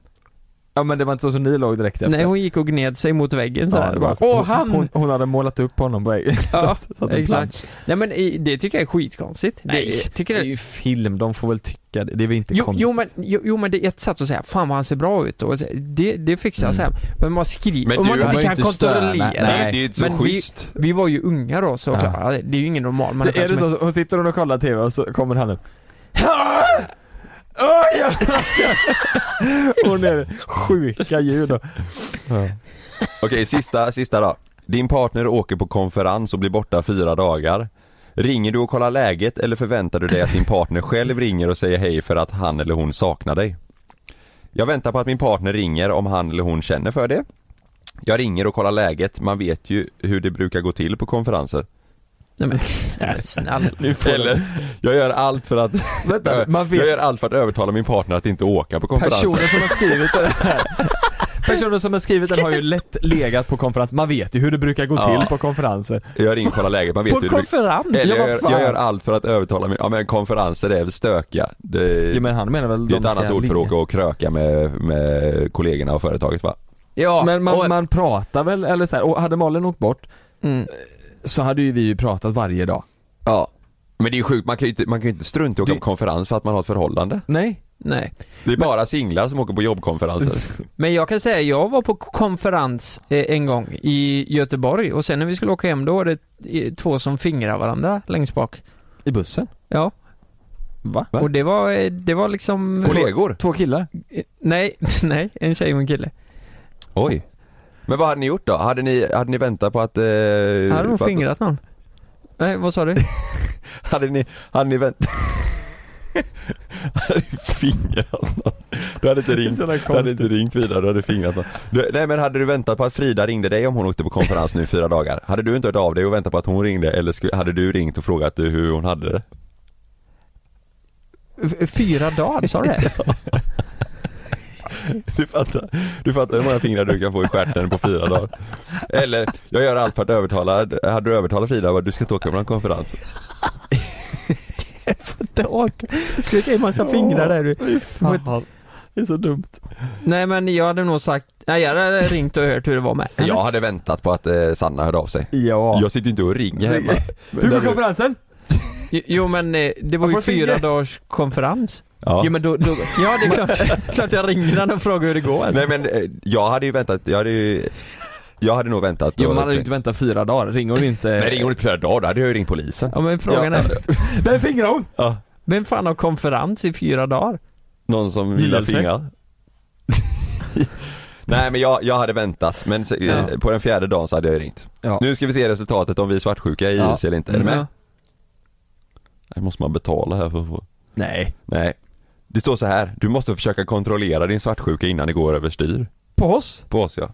Speaker 2: Ja men det var inte så som ni låg direkt efter?
Speaker 4: Nej hon gick och gned sig mot väggen så
Speaker 2: Ja,
Speaker 4: här.
Speaker 2: det
Speaker 4: bara,
Speaker 2: var så.
Speaker 4: Åh
Speaker 2: Hon-
Speaker 4: han!
Speaker 2: Hon, hon hade målat upp honom på väggen.
Speaker 4: ja,
Speaker 2: satt en
Speaker 4: exakt. Nej men eh, det tycker jag är skitkonstigt.
Speaker 2: Nej,
Speaker 4: det, tycker
Speaker 2: det
Speaker 4: jag,
Speaker 2: är ju film, de får väl tycka det. Det är väl inte
Speaker 4: Jo,
Speaker 2: konstigt?
Speaker 4: jo, men, jo, jo men det är ett sätt att säga, fan vad han ser bra ut och så- det, det fixar
Speaker 2: Mm.
Speaker 4: jag sen. Men man skriver,
Speaker 3: Men
Speaker 4: om man
Speaker 3: du
Speaker 4: inte
Speaker 3: var
Speaker 2: ju
Speaker 4: kan
Speaker 2: inte
Speaker 4: kontrollera.
Speaker 2: stöna. Nej,
Speaker 3: det är ju inte så
Speaker 4: men vi,
Speaker 3: schysst.
Speaker 4: vi var ju unga då så klara. det är ju ingen normal människa
Speaker 2: är det
Speaker 4: som
Speaker 2: så, hon sitter och kollar TV och så kommer han upp.
Speaker 4: Åh, ja!
Speaker 2: Hon är sjuka ljud och... Ja.
Speaker 3: Okej, sista, sista då. Din partner åker på konferens och blir borta fyra dagar. Ringer du och kollar läget eller förväntar du dig att din partner själv ringer och säger hej för att han eller hon saknar dig? Jag väntar på att min partner ringer om han eller hon känner för det. Jag ringer och kollar läget, man vet ju hur det brukar gå till på konferenser.
Speaker 4: Nej, men, nej, men snälla.
Speaker 3: Eller, jag gör allt för att,
Speaker 2: Vänta, man vet-
Speaker 3: jag gör allt för att övertala min partner att inte åka på konferenser.
Speaker 2: Personen som har skrivit den här. Personen som har skrivit den har ju lätt legat på konferens. Man vet ju hur det brukar gå
Speaker 3: Ja.
Speaker 2: till på konferenser.
Speaker 3: Jag ringer och kollar läget, man vet
Speaker 4: På
Speaker 3: hur det brukar-
Speaker 4: konferens?
Speaker 3: Eller jag,
Speaker 2: Ja, vad
Speaker 3: gör,
Speaker 2: fan.
Speaker 3: jag gör allt för att övertala mig. Ja men konferenser är väl stökiga. Det,
Speaker 2: Jo men han menar väl
Speaker 3: det är
Speaker 2: de
Speaker 3: ett
Speaker 2: ska
Speaker 3: annat ord för
Speaker 2: ligga.
Speaker 3: att åka och kröka med, med kollegorna och företaget va?
Speaker 4: Ja,
Speaker 2: Men man,
Speaker 4: och,
Speaker 2: man pratar väl, eller så här, och hade Malin åkt bort eh,
Speaker 4: Mm.
Speaker 2: så hade ju vi ju pratat varje dag.
Speaker 3: Ja. Men det är ju sjukt, man kan ju inte, man kan ju inte strunta i att åka
Speaker 2: Det-
Speaker 3: på konferens för att man har ett förhållande.
Speaker 2: Nej?
Speaker 4: nej.
Speaker 3: Det är bara singlar som åker på jobbkonferenser.
Speaker 4: Men jag kan säga, jag var på konferens eh, en gång i Göteborg och sen när vi skulle åka hem då var det eh, två som fingrar varandra längst bak.
Speaker 2: I bussen?
Speaker 4: Ja,
Speaker 2: Va?
Speaker 4: och det var, eh, det var liksom...
Speaker 3: Kollegor?
Speaker 2: Två killar?
Speaker 4: Eh, Nej, nej, en tjej och en kille.
Speaker 3: Oj. Men vad hade ni gjort då? Hade ni, hade ni väntat på att... Eh,
Speaker 4: Hade de
Speaker 3: för att-
Speaker 4: fingrat någon? Nej, vad sa du?
Speaker 3: Hade ni, hade ni vänt... hade ni fingrat någon? Du hade inte ringt,
Speaker 2: Så där
Speaker 3: du hade
Speaker 2: konstigt.
Speaker 3: inte ringt vidare, du hade fingrat någon. Du, nej men hade du väntat på att Frida ringde dig om hon åkte på konferens nu i fyra dagar? Hade du inte hört av dig och väntat på att hon ringde eller skulle, hade du ringt och frågat eh, hur hon hade det?
Speaker 4: Fyra dagar, sa du det?
Speaker 3: Du fattar, du fattar hur många fingrar du kan få i stjärten på fyra dagar. Eller, jag gör allt för att övertala, hade du övertalat Frida att du ska inte åka på någon konferens?
Speaker 4: Skulle jag ge massa fingrar där du.
Speaker 2: Det är så dumt.
Speaker 4: Nej men jag hade nog sagt, nej jag hade ringt och hört hur det var med.
Speaker 3: Jag hade väntat på att eh, Sanna hörde av sig.
Speaker 2: Ja.
Speaker 3: Jag sitter ju inte och ringer hemma.
Speaker 2: Hur går konferensen?
Speaker 4: Jo men eh, det var
Speaker 2: Jag
Speaker 4: ju
Speaker 2: får finger.
Speaker 4: fyra dagars konferens.
Speaker 3: Ja.
Speaker 4: Jo men då, då ja det är klart, klart jag ringer han och frågar hur det går.
Speaker 3: Nej men eh, jag hade ju väntat, jag hade ju jag hade nog väntat
Speaker 2: Jo, man
Speaker 3: och-
Speaker 2: hade ju inte väntat fyra dagar, ringer hon inte?
Speaker 3: Nej ringer hon inte på flera dagar, då hade jag ju ringt polisen
Speaker 4: Ja men frågan
Speaker 3: Ja.
Speaker 4: är,
Speaker 2: Vem fingrar hon?
Speaker 3: Ja.
Speaker 4: vem fan har konferens i fyra dagar?
Speaker 3: Någon som gillar
Speaker 4: Gillelse.
Speaker 3: fingrar Nej men jag, jag hade väntat, men se-
Speaker 4: Ja.
Speaker 3: eh, på den fjärde dagen så hade jag ju ringt
Speaker 2: Ja.
Speaker 3: Nu ska vi se resultatet om vi är svartsjuka i
Speaker 2: Ja. Mm,
Speaker 3: JLC eller inte, är du med?
Speaker 2: Ja.
Speaker 3: Nej, måste man betala här för att få?
Speaker 2: Nej.
Speaker 3: Nej Det står så här, du måste försöka kontrollera din svartsjuka innan det går överstyr
Speaker 4: På oss?
Speaker 3: På oss ja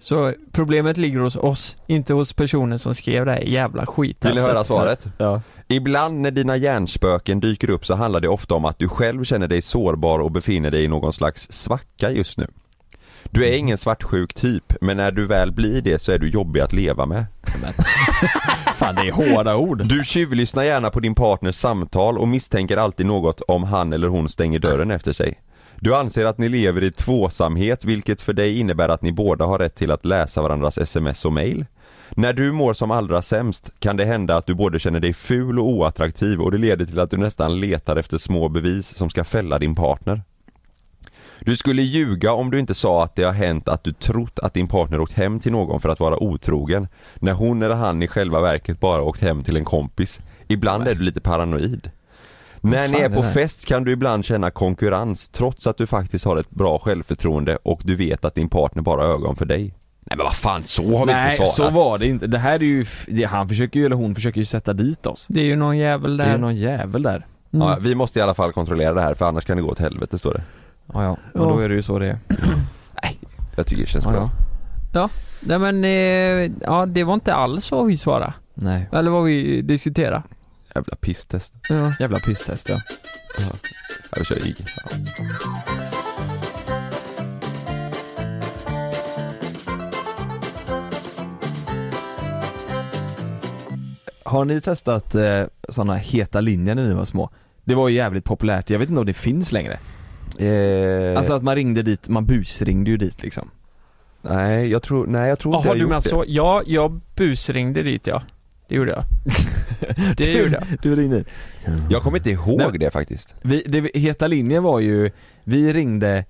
Speaker 4: Så problemet ligger hos oss, inte hos personen som skrev det här jävla Alltså,
Speaker 3: Vill
Speaker 4: skittestet.
Speaker 3: ni höra svaret?
Speaker 2: Ja.
Speaker 3: Ibland när dina hjärnspöken dyker upp så handlar det ofta om att du själv känner dig sårbar och befinner dig i någon slags svacka just nu. Du är ingen svartsjuk typ, men när du väl blir det så är du jobbig att leva med.
Speaker 2: Fan det är hårda ord.
Speaker 3: Du tjuvlyssnar gärna på din partners samtal och misstänker alltid något om han eller hon stänger dörren efter sig. Du anser att ni lever i tvåsamhet vilket för dig innebär att ni båda har rätt till att läsa varandras sms och mail. När du mår som allra sämst kan det hända att du både känner dig ful och oattraktiv och det leder till att du nästan letar efter små bevis som ska fälla din partner. Du skulle ljuga om du inte sa att det har hänt att du trott att din partner åkt hem till någon för att vara otrogen när hon eller han i själva verket bara åkt hem till en kompis. Ibland är du lite paranoid. När
Speaker 2: fan
Speaker 3: ni är
Speaker 2: är
Speaker 3: på
Speaker 2: det här?
Speaker 3: fest kan du ibland känna konkurrens trots att du faktiskt har ett bra självförtroende och du vet att din partner bara har ögon för dig. Nej men vad fan, så har vi
Speaker 2: Nej,
Speaker 3: inte
Speaker 2: så
Speaker 3: svarat.
Speaker 2: var det inte. Det här är ju, f- det- han försöker ju, eller hon försöker ju sätta dit oss.
Speaker 4: Det är ju någon jävel
Speaker 2: Det är
Speaker 4: där.
Speaker 2: ju någon jävel där.
Speaker 3: Ja,
Speaker 2: Mm.
Speaker 3: vi måste i alla fall kontrollera det här för annars kan det gå åt helvete står det.
Speaker 2: Ja, ja. Men då är det ju så det är.
Speaker 3: Jag tycker det känns
Speaker 2: Ja,
Speaker 3: bra.
Speaker 2: ja.
Speaker 4: Ja, nej men, eh, ja det var inte alls vad vi svarade.
Speaker 2: Nej.
Speaker 4: Eller vad vi diskuterade.
Speaker 3: Jävla pisstest.
Speaker 4: Ja.
Speaker 2: Jävla pisstest ja.
Speaker 3: Ja, vi kör IG.
Speaker 2: Har ni testat eh, sådana heta linjer när ni var små? Det var ju jävligt populärt, jag vet inte om det finns längre.
Speaker 3: Eh,
Speaker 2: Alltså att man ringde dit, man busringde ju dit liksom.
Speaker 3: nej jag tror, nej jag tror inte
Speaker 4: Jaha
Speaker 3: jag
Speaker 4: du
Speaker 3: gjort
Speaker 4: menar
Speaker 3: det.
Speaker 4: så? Ja, jag busringde dit ja. Det gjorde jag. Det gjorde jag.
Speaker 2: Du ringde
Speaker 3: Jag kommer inte ihåg
Speaker 2: Nej.
Speaker 3: det faktiskt.
Speaker 2: vi, det, Heta linjen var ju, vi ringde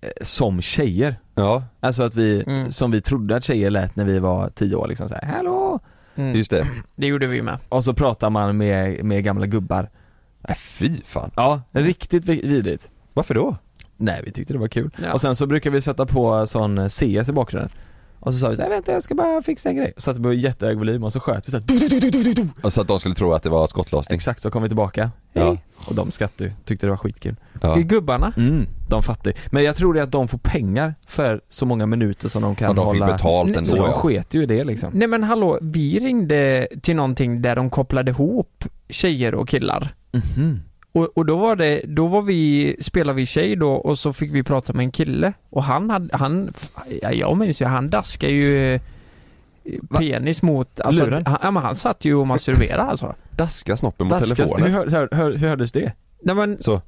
Speaker 2: eh, som tjejer.
Speaker 3: Ja,
Speaker 2: Alltså att vi,
Speaker 4: Mm.
Speaker 2: som vi trodde att tjejer lät när vi var tio år liksom så här, hallå!
Speaker 4: Mm.
Speaker 3: just det.
Speaker 4: Det gjorde vi med.
Speaker 2: Och så pratar man med, med gamla gubbar.
Speaker 3: Nej Äh, fy fan.
Speaker 2: Ja, riktigt vi- vidrigt.
Speaker 3: Varför då?
Speaker 2: Nej vi tyckte det var kul.
Speaker 4: Ja.
Speaker 2: Och sen så brukar vi sätta på sån eh, CS i bakgrunden. Och så sa vi så här, vänta jag ska bara fixa en grej. Satte på jättehög volym och så sköt vi så här, du, du, du, du, du, du.
Speaker 3: Och Så Alltså att de skulle tro att det var skottlossning.
Speaker 2: Exakt, så kom vi tillbaka.
Speaker 3: Ja.
Speaker 2: Hej. Och de skrattade ju, tyckte det var skitkul.
Speaker 3: Ja.
Speaker 4: I gubbarna.
Speaker 2: Mm, de fattar ju. Men jag tror det är att de får pengar för så många minuter som de kan
Speaker 3: Ja, de fick
Speaker 2: hålla.
Speaker 3: betalt
Speaker 4: Så
Speaker 3: ändå
Speaker 2: så de
Speaker 3: ja.
Speaker 2: sket ju i det liksom.
Speaker 4: Nej men hallå, vi ringde till någonting där de kopplade ihop tjejer och killar.
Speaker 2: Mhm.
Speaker 4: Och, och då var det, då var vi, spelade vi tjej då och så fick vi prata med en kille och han hade, han, ja, jag minns ju, han daskade ju eh, penis mot, alltså,
Speaker 2: Luren?
Speaker 4: han, ja, men han satt ju och masturberade alltså.
Speaker 3: Daska snoppen mot
Speaker 2: Daska- Hur,
Speaker 3: telefonen.
Speaker 2: hör, hör, hör, hur hördes det?
Speaker 4: Nej men
Speaker 3: Så.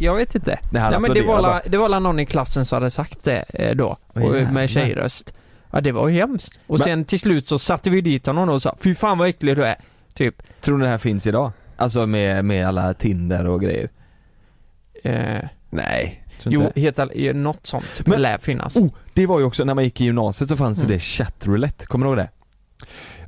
Speaker 4: Jag vet inte.
Speaker 2: Nej, han
Speaker 4: Nej, men det, var
Speaker 2: applåderade
Speaker 4: alla, det var alla någon i klassen som hade sagt det eh, då,
Speaker 2: Åh,
Speaker 4: och,
Speaker 2: jävlar.
Speaker 4: med tjejröst. Ja det var ju hemskt. Och
Speaker 2: Men-
Speaker 4: sen till slut så satte vi dit honom och sa Fy fan vad äcklig du är. Typ.
Speaker 2: Tror ni det här finns idag? Alltså med, med alla Tinder och grejer?
Speaker 4: Eh,
Speaker 3: Nej.
Speaker 2: Tror inte
Speaker 4: jo,
Speaker 2: det?
Speaker 4: helt all- eh, något sånt
Speaker 2: Men-
Speaker 4: lär finnas.
Speaker 2: Oh, det var ju också, när man gick i gymnasiet så fanns
Speaker 4: Mm.
Speaker 2: det chatroulette, kommer du ihåg det?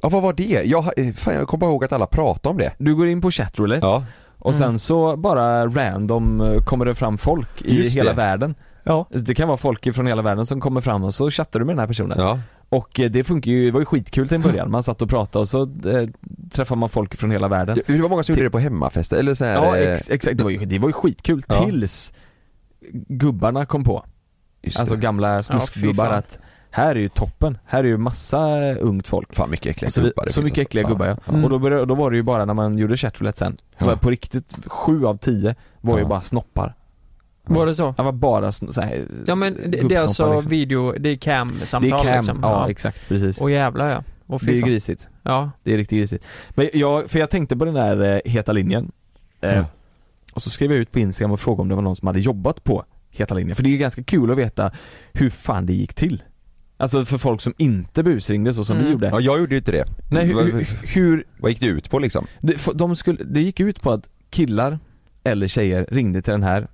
Speaker 3: Ja vad var det? Jag, har- eh, fan, jag kommer bara ihåg att alla pratade om det.
Speaker 2: Du går in på chatroulette
Speaker 3: Ja.
Speaker 2: och
Speaker 4: Mm.
Speaker 2: sen så bara random eh, kommer det fram folk i
Speaker 3: Just
Speaker 2: hela
Speaker 3: det.
Speaker 2: världen.
Speaker 4: Ja.
Speaker 2: Det kan vara folk från hela världen som kommer fram och så chattar du med den här personen.
Speaker 3: ja.
Speaker 2: Och eh, det funkar ju, det var ju skitkul till en början. Man satt och pratade och så eh, träffade man folk från hela världen.
Speaker 3: Det det var många som gjorde det på hemmafester eller så här,
Speaker 2: Ja
Speaker 3: eh,
Speaker 2: ex, exakt, det var ju, det var ju skitkul
Speaker 3: Ja.
Speaker 2: tills gubbarna kom på.
Speaker 3: just
Speaker 2: Alltså
Speaker 3: det.
Speaker 2: gamla snuskgubbar
Speaker 4: fan.
Speaker 2: att här är ju toppen, här är ju massa ungt folk.
Speaker 3: Fan mycket äckliga
Speaker 2: Och så, vi-
Speaker 3: gubbar det
Speaker 2: så
Speaker 3: finns
Speaker 2: mycket
Speaker 3: alltså.
Speaker 2: äckliga gubbar ja.
Speaker 4: Mm.
Speaker 2: Och då, började, då var det ju bara när man gjorde chatroulette sen, det var
Speaker 3: Ja.
Speaker 2: på riktigt, sju av tio var ju
Speaker 3: Ja.
Speaker 2: bara snoppar.
Speaker 4: Var det så?
Speaker 2: Det var bara sån- så här,
Speaker 4: Ja men det, det är
Speaker 2: gubbsnoppar,
Speaker 4: alltså
Speaker 2: liksom.
Speaker 4: video, det är cam-samtal
Speaker 2: Det är cam,
Speaker 4: liksom.
Speaker 2: ja, exakt, precis.
Speaker 4: Och jävlar ja. Och fy
Speaker 2: det är ju
Speaker 4: fan.
Speaker 2: grisigt.
Speaker 4: Ja.
Speaker 2: Det är riktigt grisigt. Men jag, för jag tänkte på den där eh, Heta linjen. Eh, Och så skrev jag ut på Instagram och frågade om det var någon som hade jobbat på Heta linjen. För det är ju ganska kul att veta hur fan det gick till. Alltså för folk som inte busringde så som
Speaker 4: Mm.
Speaker 2: vi gjorde.
Speaker 3: Ja, jag gjorde ju inte det.
Speaker 2: Nej, hur-
Speaker 3: Vad-
Speaker 2: hur- hur...
Speaker 3: Vad gick det ut på liksom?
Speaker 2: Det, för de skulle, det gick ut på att killar eller tjejer ringde till den här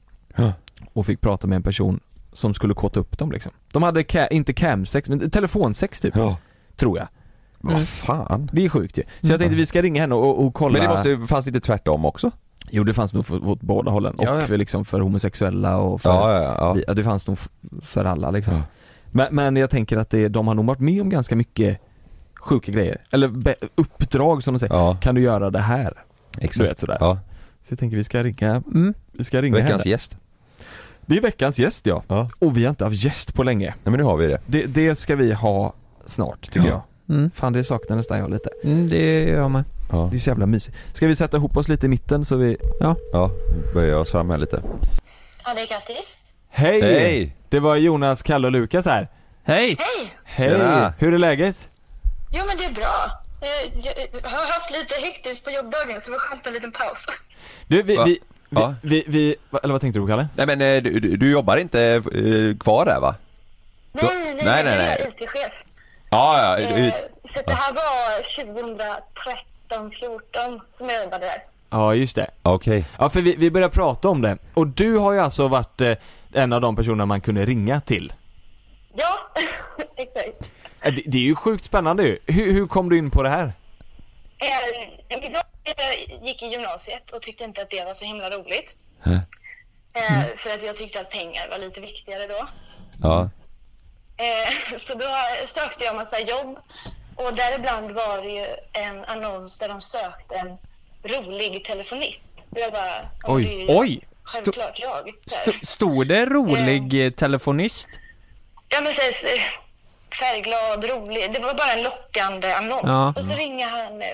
Speaker 2: och fick prata med en person som skulle kåta upp dem liksom. De hade ca, inte camsex men telefonsex typ, tror jag.
Speaker 4: Mm.
Speaker 3: Vad fan?
Speaker 2: Det är sjukt ju. Så jag tänkte vi ska ringa henne och, och kolla
Speaker 3: Mm. Men det måste, fanns det inte tvärtom också?
Speaker 2: Jo det fanns nog för, åt båda hållen och
Speaker 3: Ja, ja.
Speaker 2: För, liksom för homosexuella och för,
Speaker 3: Ja, ja, ja.
Speaker 2: vi- det fanns nog f- för alla liksom. Men, men jag tänker att det, de har nog varit med om ganska mycket sjuka grejer, eller be, uppdrag som de säger, kan du göra det här?
Speaker 3: Exakt.
Speaker 2: Du vet sådär.
Speaker 3: Ja.
Speaker 2: Så jag tänker vi ska ringa,
Speaker 4: Mm.
Speaker 2: vi ska ringa
Speaker 3: Veckans
Speaker 2: henne.
Speaker 3: gäst.
Speaker 2: Det är veckans gäst ja. Och vi har inte haft gäst på länge.
Speaker 3: Nej men nu har vi det.
Speaker 2: Det, det ska vi ha snart tycker jag.
Speaker 4: Mm.
Speaker 2: Fan det saknar nästan jag lite.
Speaker 4: Mm, det gör jag med.
Speaker 2: Det är så jävla mysigt. Ska vi sätta ihop oss lite i mitten så vi...
Speaker 4: Ja.
Speaker 3: Ja, böja oss fram här lite.
Speaker 8: Ja, det är grattis.
Speaker 2: Hej!
Speaker 3: Hej!
Speaker 2: Det var Jonas, Kalle och Lukas här. Hej!
Speaker 8: Hej!
Speaker 2: Hej!
Speaker 3: Tjena!
Speaker 2: Hur är läget?
Speaker 8: Jo, men det är bra. Jag, jag har haft lite hektiskt på jobbdagen så det var skönt med en liten paus.
Speaker 2: Du, vi...
Speaker 3: Va?
Speaker 2: vi, vi,
Speaker 3: Ja.
Speaker 2: vi, vi va- eller vad tänkte du Kalle?
Speaker 3: Nej men eh, du, du du jobbar inte eh, kvar där va?
Speaker 8: Nej,
Speaker 3: Du-
Speaker 8: nej,
Speaker 3: nej, nej,
Speaker 8: jag
Speaker 3: nej.
Speaker 8: är IT-chef.
Speaker 3: Ja, ja.
Speaker 8: Eh,
Speaker 3: ut-
Speaker 8: Så det här var 2013, 14 som jag jobbade där.
Speaker 2: Ja, just det.
Speaker 8: Eh,
Speaker 3: Okej.
Speaker 2: Ja, för vi, vi började prata om det. Och du har ju alltså varit eh, en av de personerna man kunde ringa till.
Speaker 8: Ja, exakt.
Speaker 2: Eh, Det, det är ju sjukt spännande ju. Hur, hur kom du in på det här?
Speaker 8: Eh, Jag gick i gymnasiet och tyckte inte att det var så himla roligt. Eh, För att jag tyckte att pengar var lite viktigare då.
Speaker 3: Ja.
Speaker 8: Eh, Så då sökte jag massa jobb och däribland var det ju en annons där de sökte en rolig telefonist. Och jag bara, ja,
Speaker 4: Oj.
Speaker 8: det är ju
Speaker 4: Oj.
Speaker 8: Självklart jag. Så här. Ehm.
Speaker 4: St- stod det rolig eh, telefonist?
Speaker 8: Ja men så här, så- färgglad, rolig. Det var bara en lockande annons.
Speaker 4: Ja.
Speaker 8: Och så ringer han eh,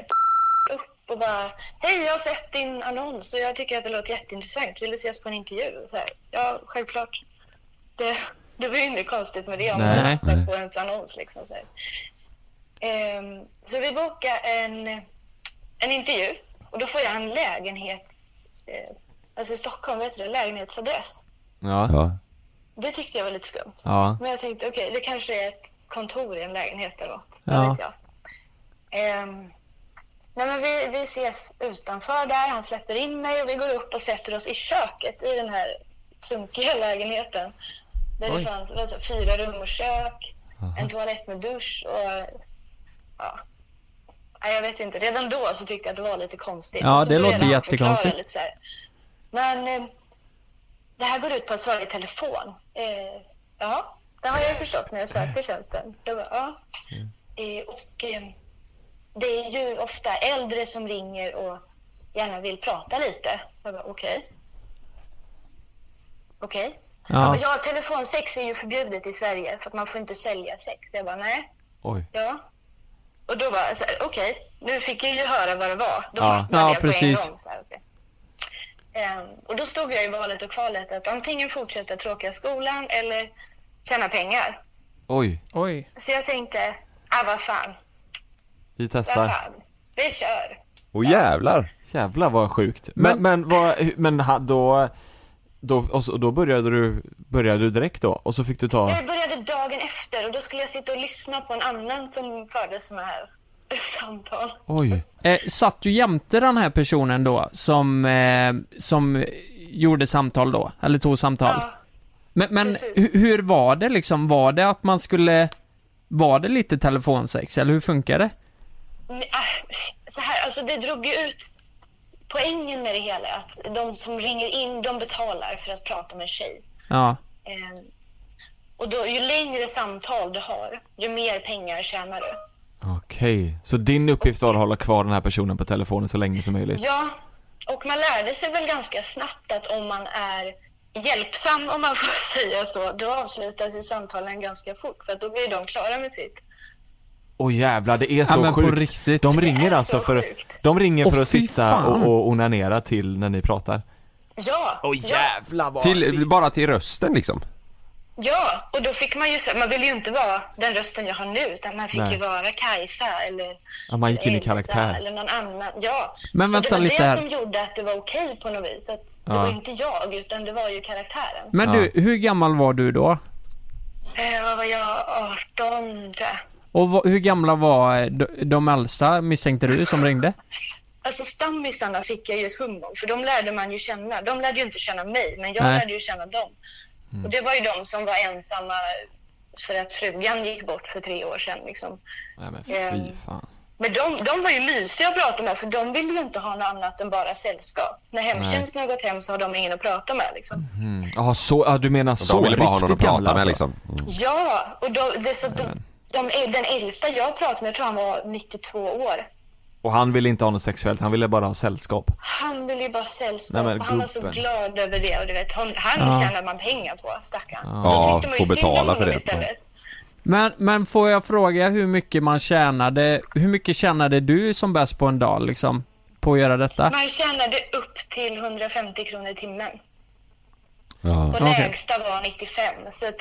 Speaker 8: upp och bara, hej jag har sett din annons och jag tycker att det låter jätteintressant. Vill du ses på en intervju? Så här, ja, självklart. Det, det var ju inget konstigt med det om man
Speaker 4: Nej.
Speaker 8: tittar på en annons liksom. Så, här. Ehm, så vi bokar en, en intervju och då får jag en lägenhets, eh, alltså i Stockholm, vet du det, lägenhetsadress.
Speaker 2: Ja.
Speaker 3: ja.
Speaker 8: Det tyckte jag var lite skumt.
Speaker 2: Ja.
Speaker 8: Men jag tänkte okej, det kanske är ett kontor i en lägenhet eller något.
Speaker 2: Ja.
Speaker 8: Vad vet jag. Ehm, nej men vi, vi ses utanför där, han släpper in mig och vi går upp och sätter oss i köket i den här sunkiga lägenheten. Där
Speaker 9: Oj.
Speaker 8: det fanns det var så fyra rum och kök, en toalett med dusch och ja. Nej, jag vet inte, redan då så tyckte jag att det var lite konstigt.
Speaker 4: Ja,
Speaker 8: Och så
Speaker 4: det
Speaker 8: började
Speaker 4: låter
Speaker 8: han
Speaker 4: jättekonstigt.
Speaker 8: förklara lite så här. Men eh, det här går ut på att svara i telefon. Eh, ja, det har jag förstått när jag
Speaker 4: Mm.
Speaker 8: sökte tjänsten. Jag bara, ja. eh, och eh, det är ju ofta äldre som ringer och gärna vill prata lite. Jag bara, okej. Okej.
Speaker 9: Ja.
Speaker 8: Ja. ja, telefonsex är ju förbjudet i Sverige för att man får inte sälja sex. Jag bara, nej.
Speaker 2: Oj.
Speaker 8: Ja. Och då var jag så här, okej, nu fick jag ju höra vad det var. Då
Speaker 4: Ja.
Speaker 8: fattade
Speaker 4: Ja,
Speaker 8: jag
Speaker 4: precis.
Speaker 8: på en gång. Så här, okej. Ehm, och då stod jag i valet och kvalet att antingen fortsätta tråkiga skolan eller tjäna pengar.
Speaker 2: Oj,
Speaker 4: Oj.
Speaker 8: Så jag tänkte, ah vad fan,
Speaker 2: vi
Speaker 8: vad
Speaker 2: testar.
Speaker 8: fan, vi kör.
Speaker 3: Åh jävlar!
Speaker 2: Jävlar vad sjukt. Men, men, vad, men ha- då, då, och så, då började du, började du direkt då? Och så fick du ta,
Speaker 8: Jag började dagen efter och då skulle jag sitta och lyssna på en annan som förde såna här samtal.
Speaker 2: Oj.
Speaker 4: Eh, satt du jämte den här personen då, som, eh, som gjorde samtal då? Eller tog samtal? men men hu- hur var det liksom? Var det att man skulle... Var det lite telefonsex, eller hur funkar det?
Speaker 8: Men, ah, Så här, alltså det drog ju ut poängen med det hela. Att de som ringer in, de betalar för att prata med en tjej.
Speaker 4: Ja.
Speaker 8: Ehm, och då, ju längre samtal du har, ju mer pengar tjänar du.
Speaker 2: okej. Så din uppgift var att hålla kvar den här personen på telefonen så länge som möjligt?
Speaker 8: Ja, och man lärde sig väl ganska snabbt att om man är hjälpsam, om man får säga så, då avslutas ju samtalen ganska fort för att då blir de klara med sitt.
Speaker 2: Åh jävlar, det är så
Speaker 4: Ja, men på
Speaker 2: sjukt.
Speaker 4: riktigt.
Speaker 2: De ringer alltså för, de ringer för
Speaker 4: Åh,
Speaker 2: att
Speaker 4: fy
Speaker 2: sitta
Speaker 4: fan.
Speaker 2: och, och onanera till när ni pratar.
Speaker 10: Ja,
Speaker 2: Åh
Speaker 10: ja,
Speaker 2: vad...
Speaker 3: Till, bara till rösten liksom?
Speaker 10: ja, och då fick man ju, så- man ville ju inte vara den rösten jag har nu, utan man fick
Speaker 2: Nej.
Speaker 10: ju vara Kajsa eller
Speaker 2: Ja, man gick in i
Speaker 10: Elsa
Speaker 2: karaktär.
Speaker 10: eller någon annan. Ja,
Speaker 2: Men
Speaker 10: Och
Speaker 2: vänta
Speaker 10: det var
Speaker 2: lite
Speaker 10: det
Speaker 2: här.
Speaker 10: som gjorde att det var okej på något vis. Att det
Speaker 4: Ja.
Speaker 10: var ju inte jag, utan det var ju karaktären.
Speaker 4: Men du, hur gammal var du då?
Speaker 10: Eh, vad var jag? 18, tror jag.
Speaker 4: Och vad, hur gamla var eh, de, de äldsta misstänkte du som ringde?
Speaker 10: Alltså stammisarna fick jag ju ett hum om, för de lärde man ju känna. De lärde ju inte känna mig, men jag
Speaker 4: Nej.
Speaker 10: lärde ju känna dem.
Speaker 3: Mm.
Speaker 10: Och det var ju de som var ensamma för att frugan gick bort för tre år sedan. Liksom.
Speaker 2: Nej men
Speaker 10: Ehm.
Speaker 2: fy fan.
Speaker 10: Men de, de var ju mysiga att prata med, för de ville ju inte ha något annat än bara sällskap. När hemtjänsten har gått hem så har de ingen att prata med. Liksom.
Speaker 3: Mhm.
Speaker 2: Mm. Ja, så, ja, du menar så?
Speaker 3: ville bara ha någon
Speaker 2: riktigt
Speaker 3: att prata
Speaker 2: gamla,
Speaker 3: med,
Speaker 2: alltså.
Speaker 3: liksom.
Speaker 10: Ja, och då, det, är så, de, de, den äldsta jag pratade med, jag tror han var 92 år.
Speaker 2: Och han ville inte ha något sexuellt, han ville bara ha sällskap.
Speaker 10: Han ville ju bara sällskap
Speaker 2: Nej, men
Speaker 10: och han var så
Speaker 2: gubben.
Speaker 10: glad över det. Och du vet, han han
Speaker 4: Ja.
Speaker 10: tjänar man pengar på, stackarn.
Speaker 4: Ja.
Speaker 10: Då
Speaker 4: Ja,
Speaker 10: tyckte man
Speaker 4: får
Speaker 10: ju synd om
Speaker 4: betala för
Speaker 10: honom
Speaker 4: det.
Speaker 10: istället.
Speaker 4: Men, men får jag fråga hur mycket man tjänade, hur mycket tjänade du som bäst på en dag liksom? På att göra detta?
Speaker 10: Man tjänade upp till 150 kronor i timmen.
Speaker 3: Mm. Ja.
Speaker 10: Och lägsta var 95. Så att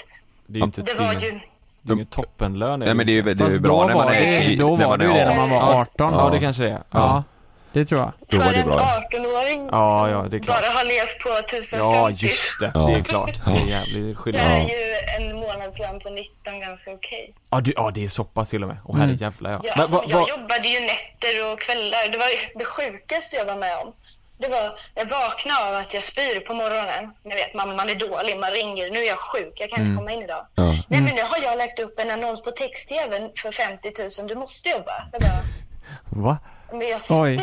Speaker 2: Det är ju inte
Speaker 10: det
Speaker 2: ett-
Speaker 10: var
Speaker 2: det är
Speaker 10: ju...
Speaker 2: Det är ingen toppenlön.
Speaker 3: Nej, men det är ju- det är ju
Speaker 2: Fast
Speaker 3: bra
Speaker 2: då
Speaker 3: när
Speaker 2: var
Speaker 3: man är-
Speaker 2: det-
Speaker 3: när man är 18.
Speaker 2: Ja,
Speaker 3: Ja.
Speaker 2: det kanske det är.
Speaker 3: Ja.
Speaker 4: Det tror jag.
Speaker 3: Då var
Speaker 10: För
Speaker 3: det
Speaker 10: en
Speaker 3: bra.
Speaker 10: 18-åring
Speaker 2: Ja, ja, det är klart.
Speaker 10: bara har levt på 1050.
Speaker 2: Ja, just det. Det är klart. Det är
Speaker 10: Det
Speaker 2: jävligt skillnad.
Speaker 10: är
Speaker 2: Ja.
Speaker 10: ju en månadslön på 19 ganska okej.
Speaker 2: Ja, du, ja, det är så pass till och med. Åh
Speaker 4: Mm.
Speaker 2: herrejävlar ja.
Speaker 10: Ja,
Speaker 2: Men
Speaker 10: alltså,
Speaker 2: vad-
Speaker 10: jag
Speaker 2: vad-
Speaker 10: jobbade ju nätter och kvällar. Det var ju det sjukaste jag var med om. Det var, jag vaknade av att jag spyr på morgonen. Ni vet, man, man är dålig, man ringer. Nu är jag sjuk, jag kan inte
Speaker 11: Mm.
Speaker 10: komma in idag. Nej, men nu har jag lagt upp en annons på text-tv för 50 000. Du måste jobba. Jag bara,
Speaker 2: Va?
Speaker 10: men jag spyr.
Speaker 2: Oj.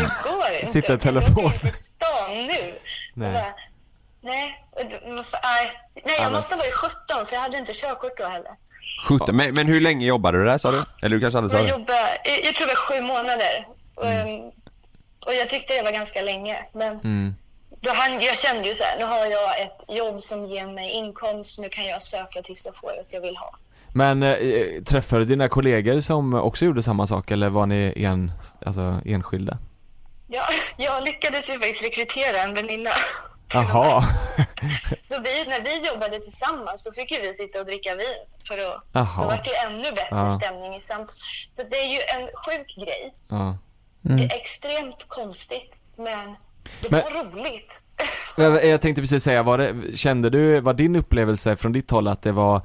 Speaker 10: det går inte.
Speaker 2: Sitter i telefon.
Speaker 10: Jag till stan nu. Nej.
Speaker 2: Nej.
Speaker 10: Bara, nej, och då- varför- nej, nej, jag
Speaker 3: men-
Speaker 10: måste ha varit 17 för jag hade inte körkort då heller.
Speaker 3: 17. Men, men hur länge jobbade du där sa du? Eller du kanske aldrig sa
Speaker 10: Jag
Speaker 3: det?
Speaker 10: jobbade, jag, jag tror det var sju månader. Och,
Speaker 2: Mm.
Speaker 10: ehm, och jag tyckte det var ganska länge. Men
Speaker 2: Mm.
Speaker 10: då han, jag kände ju så här, nu har jag ett jobb som ger mig inkomst, nu kan jag söka tills jag får det jag vill ha.
Speaker 2: Men eh, träffade du dina kollegor som också gjorde samma sak eller var ni en, alltså, enskilda?
Speaker 10: Jag, jag lyckades ju faktiskt rekrytera en väninna.
Speaker 2: Jaha.
Speaker 10: Så vi, när vi jobbade tillsammans så fick ju vi sitta och dricka vin. För att,
Speaker 2: Jaha.
Speaker 10: då var det ju ännu bättre
Speaker 2: Ja.
Speaker 10: stämning. i samt- Så det är ju en sjuk grej.
Speaker 2: Ja.
Speaker 10: Det är extremt konstigt, men det
Speaker 2: Mm. Men-
Speaker 10: var roligt.
Speaker 2: Men eh, Jag tänkte precis säga, var det, kände du, var din upplevelse från ditt håll att det var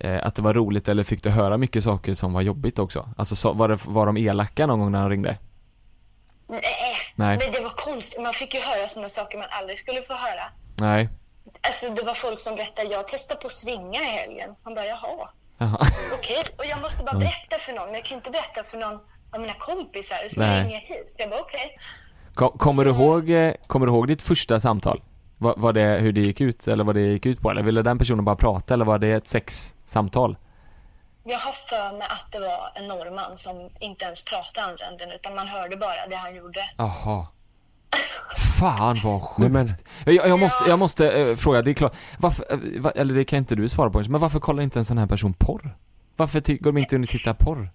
Speaker 2: eh, att det var roligt eller fick du höra mycket saker som var jobbigt också? Alltså så, var, det, var de elaka någon gång när han ringde?
Speaker 10: Nej.
Speaker 2: Nej.
Speaker 10: men det var konstigt. Man fick ju höra sådana saker man aldrig skulle få höra.
Speaker 2: Nej.
Speaker 10: Alltså det var folk som berättade, jag testade på att svinga i helgen. Man bara, jaha,
Speaker 2: Jaha.
Speaker 10: okej. Och jag måste bara
Speaker 2: Mm.
Speaker 10: berätta för någon, men jag kan ju inte berätta för någon av mina kompisar som
Speaker 2: Nej.
Speaker 10: ringer hit. Jag bara, okej.
Speaker 2: Ko- Kommer du ihåg, eh, kommer du ihåg ditt första samtal? Var, var det hur det gick ut eller vad det gick ut på? Eller ville den personen bara prata eller var det ett sexsamtal?
Speaker 10: Jag har för mig att det var en norrman som inte ens pratade andra änden, utan man hörde bara det han gjorde.
Speaker 2: Jaha. Fan vad sjukt. Jag, jag måste, jag måste eh, fråga, det är klart, varför, eh, va, eller det kan inte du svara på men varför kollar inte en sån här person porr? Varför ti- går de inte in och tittar porr?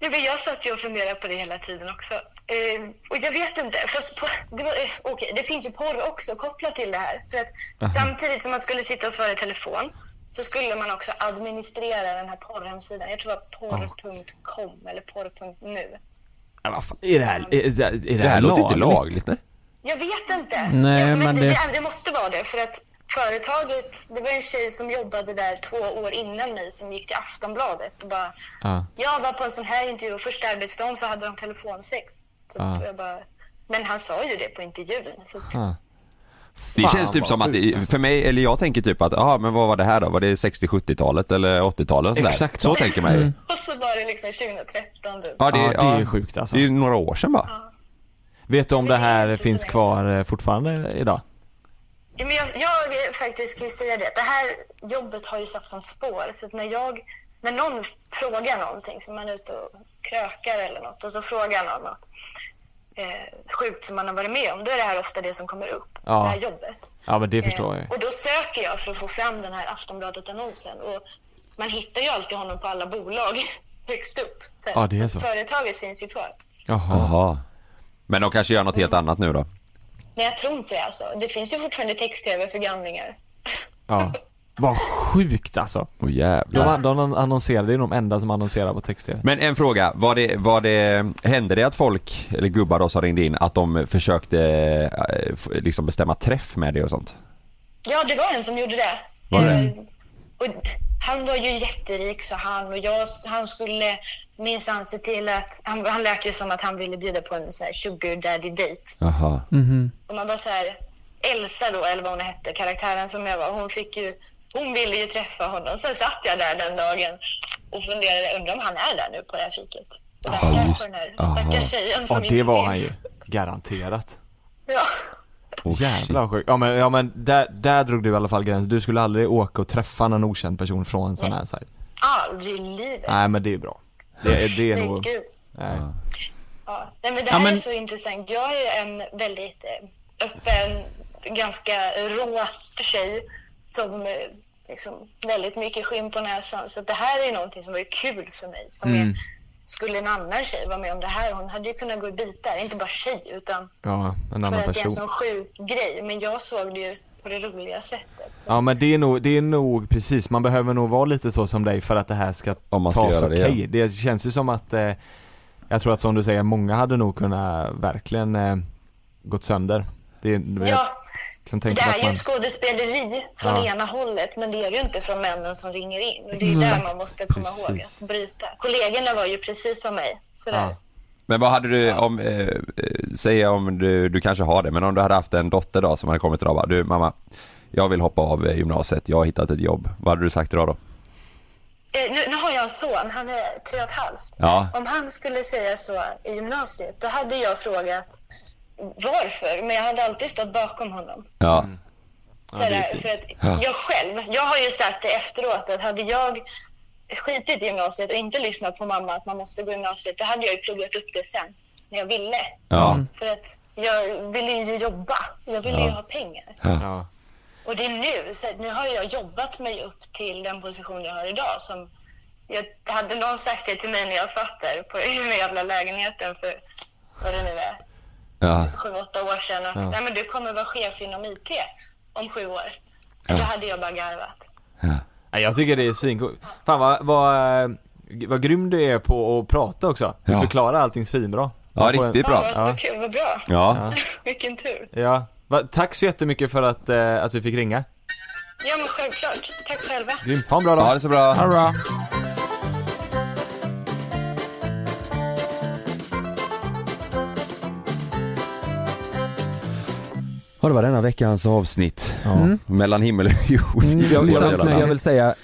Speaker 10: Nej, men jag satt ju och funderade på det hela tiden också. Eh, och jag vet inte, fast på, det, var, eh, okej, det finns ju porr också kopplat till det här. För att
Speaker 11: Aha.
Speaker 10: samtidigt som man skulle sitta och svara i telefon så skulle man också administrera den här porrhemsidan. Jag tror det var porr.com eller porr.nu.
Speaker 2: Men vad fan, är det här, är, är, det här
Speaker 3: Det här låter inte lagligt,
Speaker 2: nej?
Speaker 10: Jag vet inte.
Speaker 2: Nej,
Speaker 10: jag,
Speaker 2: men
Speaker 10: det...
Speaker 2: det-
Speaker 10: Det, det måste vara det. För att företaget, det var en tjej som jobbade där två år innan mig som gick till Aftonbladet och bara
Speaker 2: Ja.
Speaker 10: Jag var på en sån här intervju och första arbetsdagen så hade de telefonsex. Så
Speaker 2: Ja.
Speaker 10: jag bara, men han sa ju det på intervjun. Så att,
Speaker 3: Det
Speaker 2: Fan,
Speaker 3: känns typ
Speaker 2: vad
Speaker 3: som att,
Speaker 2: sjukt,
Speaker 12: alltså.
Speaker 3: det, för mig, eller jag tänker typ att, ja men vad var det här då? Var det 60-70-talet eller 80-talet? sådär?
Speaker 2: Exakt
Speaker 3: så.
Speaker 2: så.
Speaker 3: tänker man ju.
Speaker 2: Mm.
Speaker 10: och så var det liksom 2013 du.
Speaker 3: Ja, det,
Speaker 2: Ja, det är
Speaker 3: ja,
Speaker 2: sjukt alltså.
Speaker 3: Det är ju några år sedan bara.
Speaker 2: Vet du om det här finns kvar eh, fortfarande idag?
Speaker 10: Ja, Men jag, jag eh, faktiskt kan ju säga det, det här jobbet har ju satt som spår. Så att när, jag, när någon frågar någonting, så man är ute och krökar eller något och så frågar någon något eh, sjukt som man har varit med om, då är det här ofta det som kommer upp.
Speaker 2: Ja.
Speaker 10: Det här jobbet. Eh,
Speaker 2: Ja men det förstår jag ju.
Speaker 10: Och då söker jag för att få fram den här Aftonbladet-annonsen. Och man hittar ju alltid honom på alla bolag högst upp. här.
Speaker 3: Ja, det är så.
Speaker 10: att Företaget finns ju kvar.
Speaker 2: Jaha.
Speaker 3: Men de kanske gör något helt annat nu då?
Speaker 10: Nej, jag tror inte det alltså. Det finns ju fortfarande text-tv för gamlingar.
Speaker 2: Ja. Vad sjukt alltså.
Speaker 3: Åh jävlar.
Speaker 2: De, an- de annonserade, det är de enda som annonserar på text-tv.
Speaker 3: Men en fråga, var det, var det, hände det att folk, eller gubbar då som ringde in, att de försökte eh, f- liksom bestämma träff med dig och sånt?
Speaker 10: Ja, det var en som gjorde det.
Speaker 3: Var det?
Speaker 10: Eh, Och d- han var ju jätterik, så han. Och jag, han skulle minsann se till att... Han, han lät ju som att han ville bjuda på en så här sugar daddy date.
Speaker 3: Jaha.
Speaker 10: Och man bara så här... Elsa då, eller vad hon hette, karaktären som jag var, hon fick ju... Hon ville ju träffa honom. Sen satt jag där den dagen och funderade, undrar om han är där nu på det här fiket. Och där
Speaker 2: Ja,
Speaker 10: kanske
Speaker 2: just-
Speaker 10: den här
Speaker 2: aha.
Speaker 10: stackars tjejen som
Speaker 2: Ja, det
Speaker 10: inte
Speaker 2: var
Speaker 10: finns.
Speaker 2: han ju. Garanterat.
Speaker 10: Ja.
Speaker 2: Jävlar vad sjukt. Ja men, ja, men där, där drog du i alla fall gränsen. Du skulle aldrig åka och träffa någon okänd person från en sån här sajt.
Speaker 10: Aldrig i livet.
Speaker 2: Nej men det är bra. Det, är- det är
Speaker 10: Men
Speaker 2: nog...
Speaker 10: gud.
Speaker 2: Nej.
Speaker 10: Ja. Nej, men det
Speaker 2: Ja,
Speaker 10: här
Speaker 2: men-
Speaker 10: är så intressant. Jag är en väldigt eh, öppen, ganska rå tjej som eh, liksom, väldigt mycket skinn på näsan. Så det här är någonting som var ju kul för mig. Som
Speaker 2: Mm.
Speaker 10: är, skulle en annan tjej vara med om det här, hon hade ju kunnat gå i bitar. Inte bara tjej, utan
Speaker 2: Ja, en
Speaker 10: för
Speaker 2: annan
Speaker 10: att det är en
Speaker 2: person.
Speaker 10: sån sjuk grej. Men jag såg det ju på det roliga sättet.
Speaker 2: Ja men det är, nog, det är nog precis, man behöver nog vara lite så som dig för att det här ska
Speaker 3: ska
Speaker 2: tas
Speaker 3: göra
Speaker 2: okej.
Speaker 3: det, ja.
Speaker 2: Det känns ju som att, eh, jag tror att som du säger, många hade nog kunnat verkligen eh, gått sönder. Det, är- jag
Speaker 10: Ja,
Speaker 2: kan
Speaker 10: Det
Speaker 2: tänka mig
Speaker 10: är
Speaker 2: att
Speaker 10: ju
Speaker 2: man...
Speaker 10: ett skådespeleri från
Speaker 2: Ja.
Speaker 10: ena hållet, men det är det ju inte från männen som ringer in. Och det är ju
Speaker 3: Exakt.
Speaker 10: där man måste komma ihåg
Speaker 3: Precis.
Speaker 10: att bryta. Kollegorna var ju precis som mig. Sådär.
Speaker 3: Men vad hade du om, eh, eh, säg om du, du kanske har det, men om du hade haft en dotter då som hade kommit idag och bara, du mamma, jag vill hoppa av eh, gymnasiet, jag har hittat ett jobb. Vad hade du sagt idag då?
Speaker 10: Eh, nu, nu har jag en son, han är tre och ett halvt.
Speaker 3: Ja.
Speaker 10: Om han skulle säga så i gymnasiet, då hade jag frågat varför, men jag hade alltid stått bakom honom.
Speaker 3: Ja.
Speaker 10: Sådär, för att
Speaker 3: Ja.
Speaker 10: jag själv, jag har ju sagt det efteråt att hade jag skitit i gymnasiet och inte lyssnat på mamma att man måste gå i gymnasiet, då hade jag ju pluggat upp det sen när jag ville.
Speaker 3: Ja.
Speaker 2: Mm.
Speaker 10: För att jag ville ju jobba, jag ville
Speaker 3: Ja.
Speaker 10: ju ha pengar.
Speaker 2: Ja.
Speaker 10: Och det är nu, så att nu har jag jobbat mig upp till den position jag har idag som jag, hade någon sagt det till mig när jag satt där på i den jävla lägenheten för vad det nu är,
Speaker 3: Ja.
Speaker 10: sju, åtta år sedan att
Speaker 3: Ja.
Speaker 10: nej men du kommer vara chef inom IT om sju år.
Speaker 2: Ja.
Speaker 10: Då hade jag bara garvat.
Speaker 2: Nej, jag tycker det är svincoolt. Fan vad, vad, eh, vad grym du är på att prata också. Du
Speaker 3: Ja.
Speaker 2: förklarar allting svinbra.
Speaker 3: Ja,
Speaker 2: Man får
Speaker 3: riktigt bra.
Speaker 10: Ja, vad, vad kul, vad bra.
Speaker 2: Ja.
Speaker 10: Vilken tur.
Speaker 2: Ja. Va, tack så jättemycket för att, eh, att vi fick ringa.
Speaker 10: Ja men självklart. Tack själva.
Speaker 2: Grymt. Ha en bra dag.
Speaker 3: Ha det så bra.
Speaker 2: Ha det bra.
Speaker 3: Ja, det var denna veckans avsnitt.
Speaker 2: Mm.
Speaker 3: Mellan himmel och jord.
Speaker 2: Mm, jag,
Speaker 3: Våra
Speaker 2: jag,
Speaker 3: jävla
Speaker 2: jag,
Speaker 3: namn.
Speaker 2: vill säga,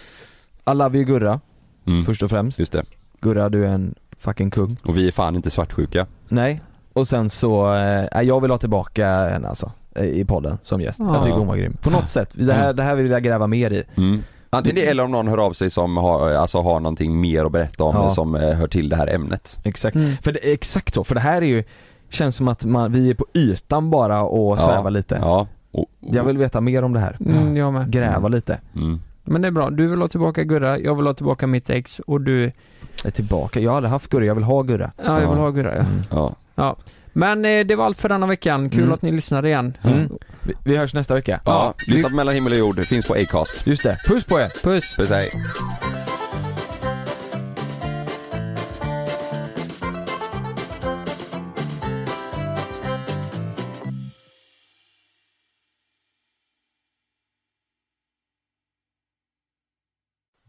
Speaker 2: I love you Gurra, först och främst.
Speaker 3: Mm. Just det.
Speaker 2: Gurra, du är en fucking kung.
Speaker 3: Och vi är fan inte svartsjuka.
Speaker 2: Nej, och sen så, eh, jag vill ha tillbaka henne alltså, eh, i podden som gäst.
Speaker 3: Ja.
Speaker 2: Jag tycker hon var grym. På något sätt, det här, det här vill jag gräva mer i.
Speaker 3: Mm. Antingen det eller om någon hör av sig som har, alltså har någonting mer att berätta om
Speaker 2: Ja.
Speaker 3: som eh, hör till det här ämnet.
Speaker 2: Exakt, för det, exakt så, för det här är ju, känns som att man, vi är på ytan bara och
Speaker 3: Ja.
Speaker 2: svävar lite.
Speaker 3: Ja.
Speaker 2: Jag vill veta mer om det här.
Speaker 4: Mm, jag med.
Speaker 2: Gräva lite.
Speaker 4: Men det är bra, du vill ha tillbaka Gurra, jag vill ha tillbaka mitt ex och du...
Speaker 2: Jag är tillbaka, jag har aldrig haft Gurra, jag vill ha Gurra.
Speaker 4: Ja, jag vill ha Gurra ja.
Speaker 3: Ja.
Speaker 4: ja. Men eh, det var allt för denna veckan, kul
Speaker 2: Mm.
Speaker 4: att ni lyssnade igen.
Speaker 11: Mm.
Speaker 2: Vi, vi hörs nästa vecka.
Speaker 3: Ja, lyssna på mellan himmel och jord, finns på Acast.
Speaker 2: Just det, puss på er!
Speaker 4: Puss!
Speaker 3: Puss hej.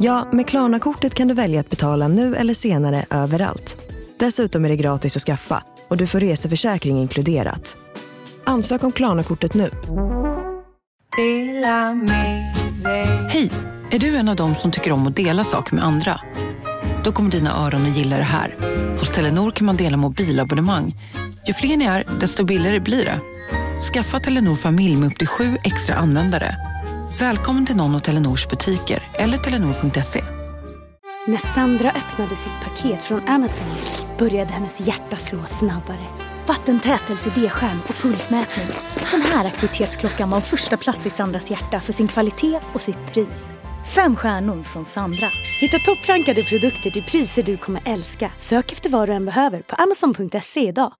Speaker 1: Ja, med Klarna-kortet kan du välja att betala nu eller senare överallt. Dessutom är det gratis att skaffa och du får reseförsäkring inkluderat. Ansök om Klarna-kortet nu.
Speaker 13: Hej! Är du en av dem som tycker om att dela saker med andra? Då kommer dina öron att gilla det här. Hos Telenor kan man dela mobilabonnemang. Ju fler ni är, desto billigare blir det.
Speaker 14: Skaffa Telenor familj med upp till sju extra användare. Välkommen till någon av Telenors butiker eller telenor.se.
Speaker 8: När Sandra öppnade sitt paket från Amazon började hennes hjärta slå snabbare. Vattentätelse, D-skärm och pulsmätning. Den här aktivitetsklockan var en första plats i Sandras hjärta för sin kvalitet och sitt pris. Fem stjärnor från Sandra. Hitta topprankade produkter till priser du kommer älska. Sök efter vad du än behöver på amazon.se idag.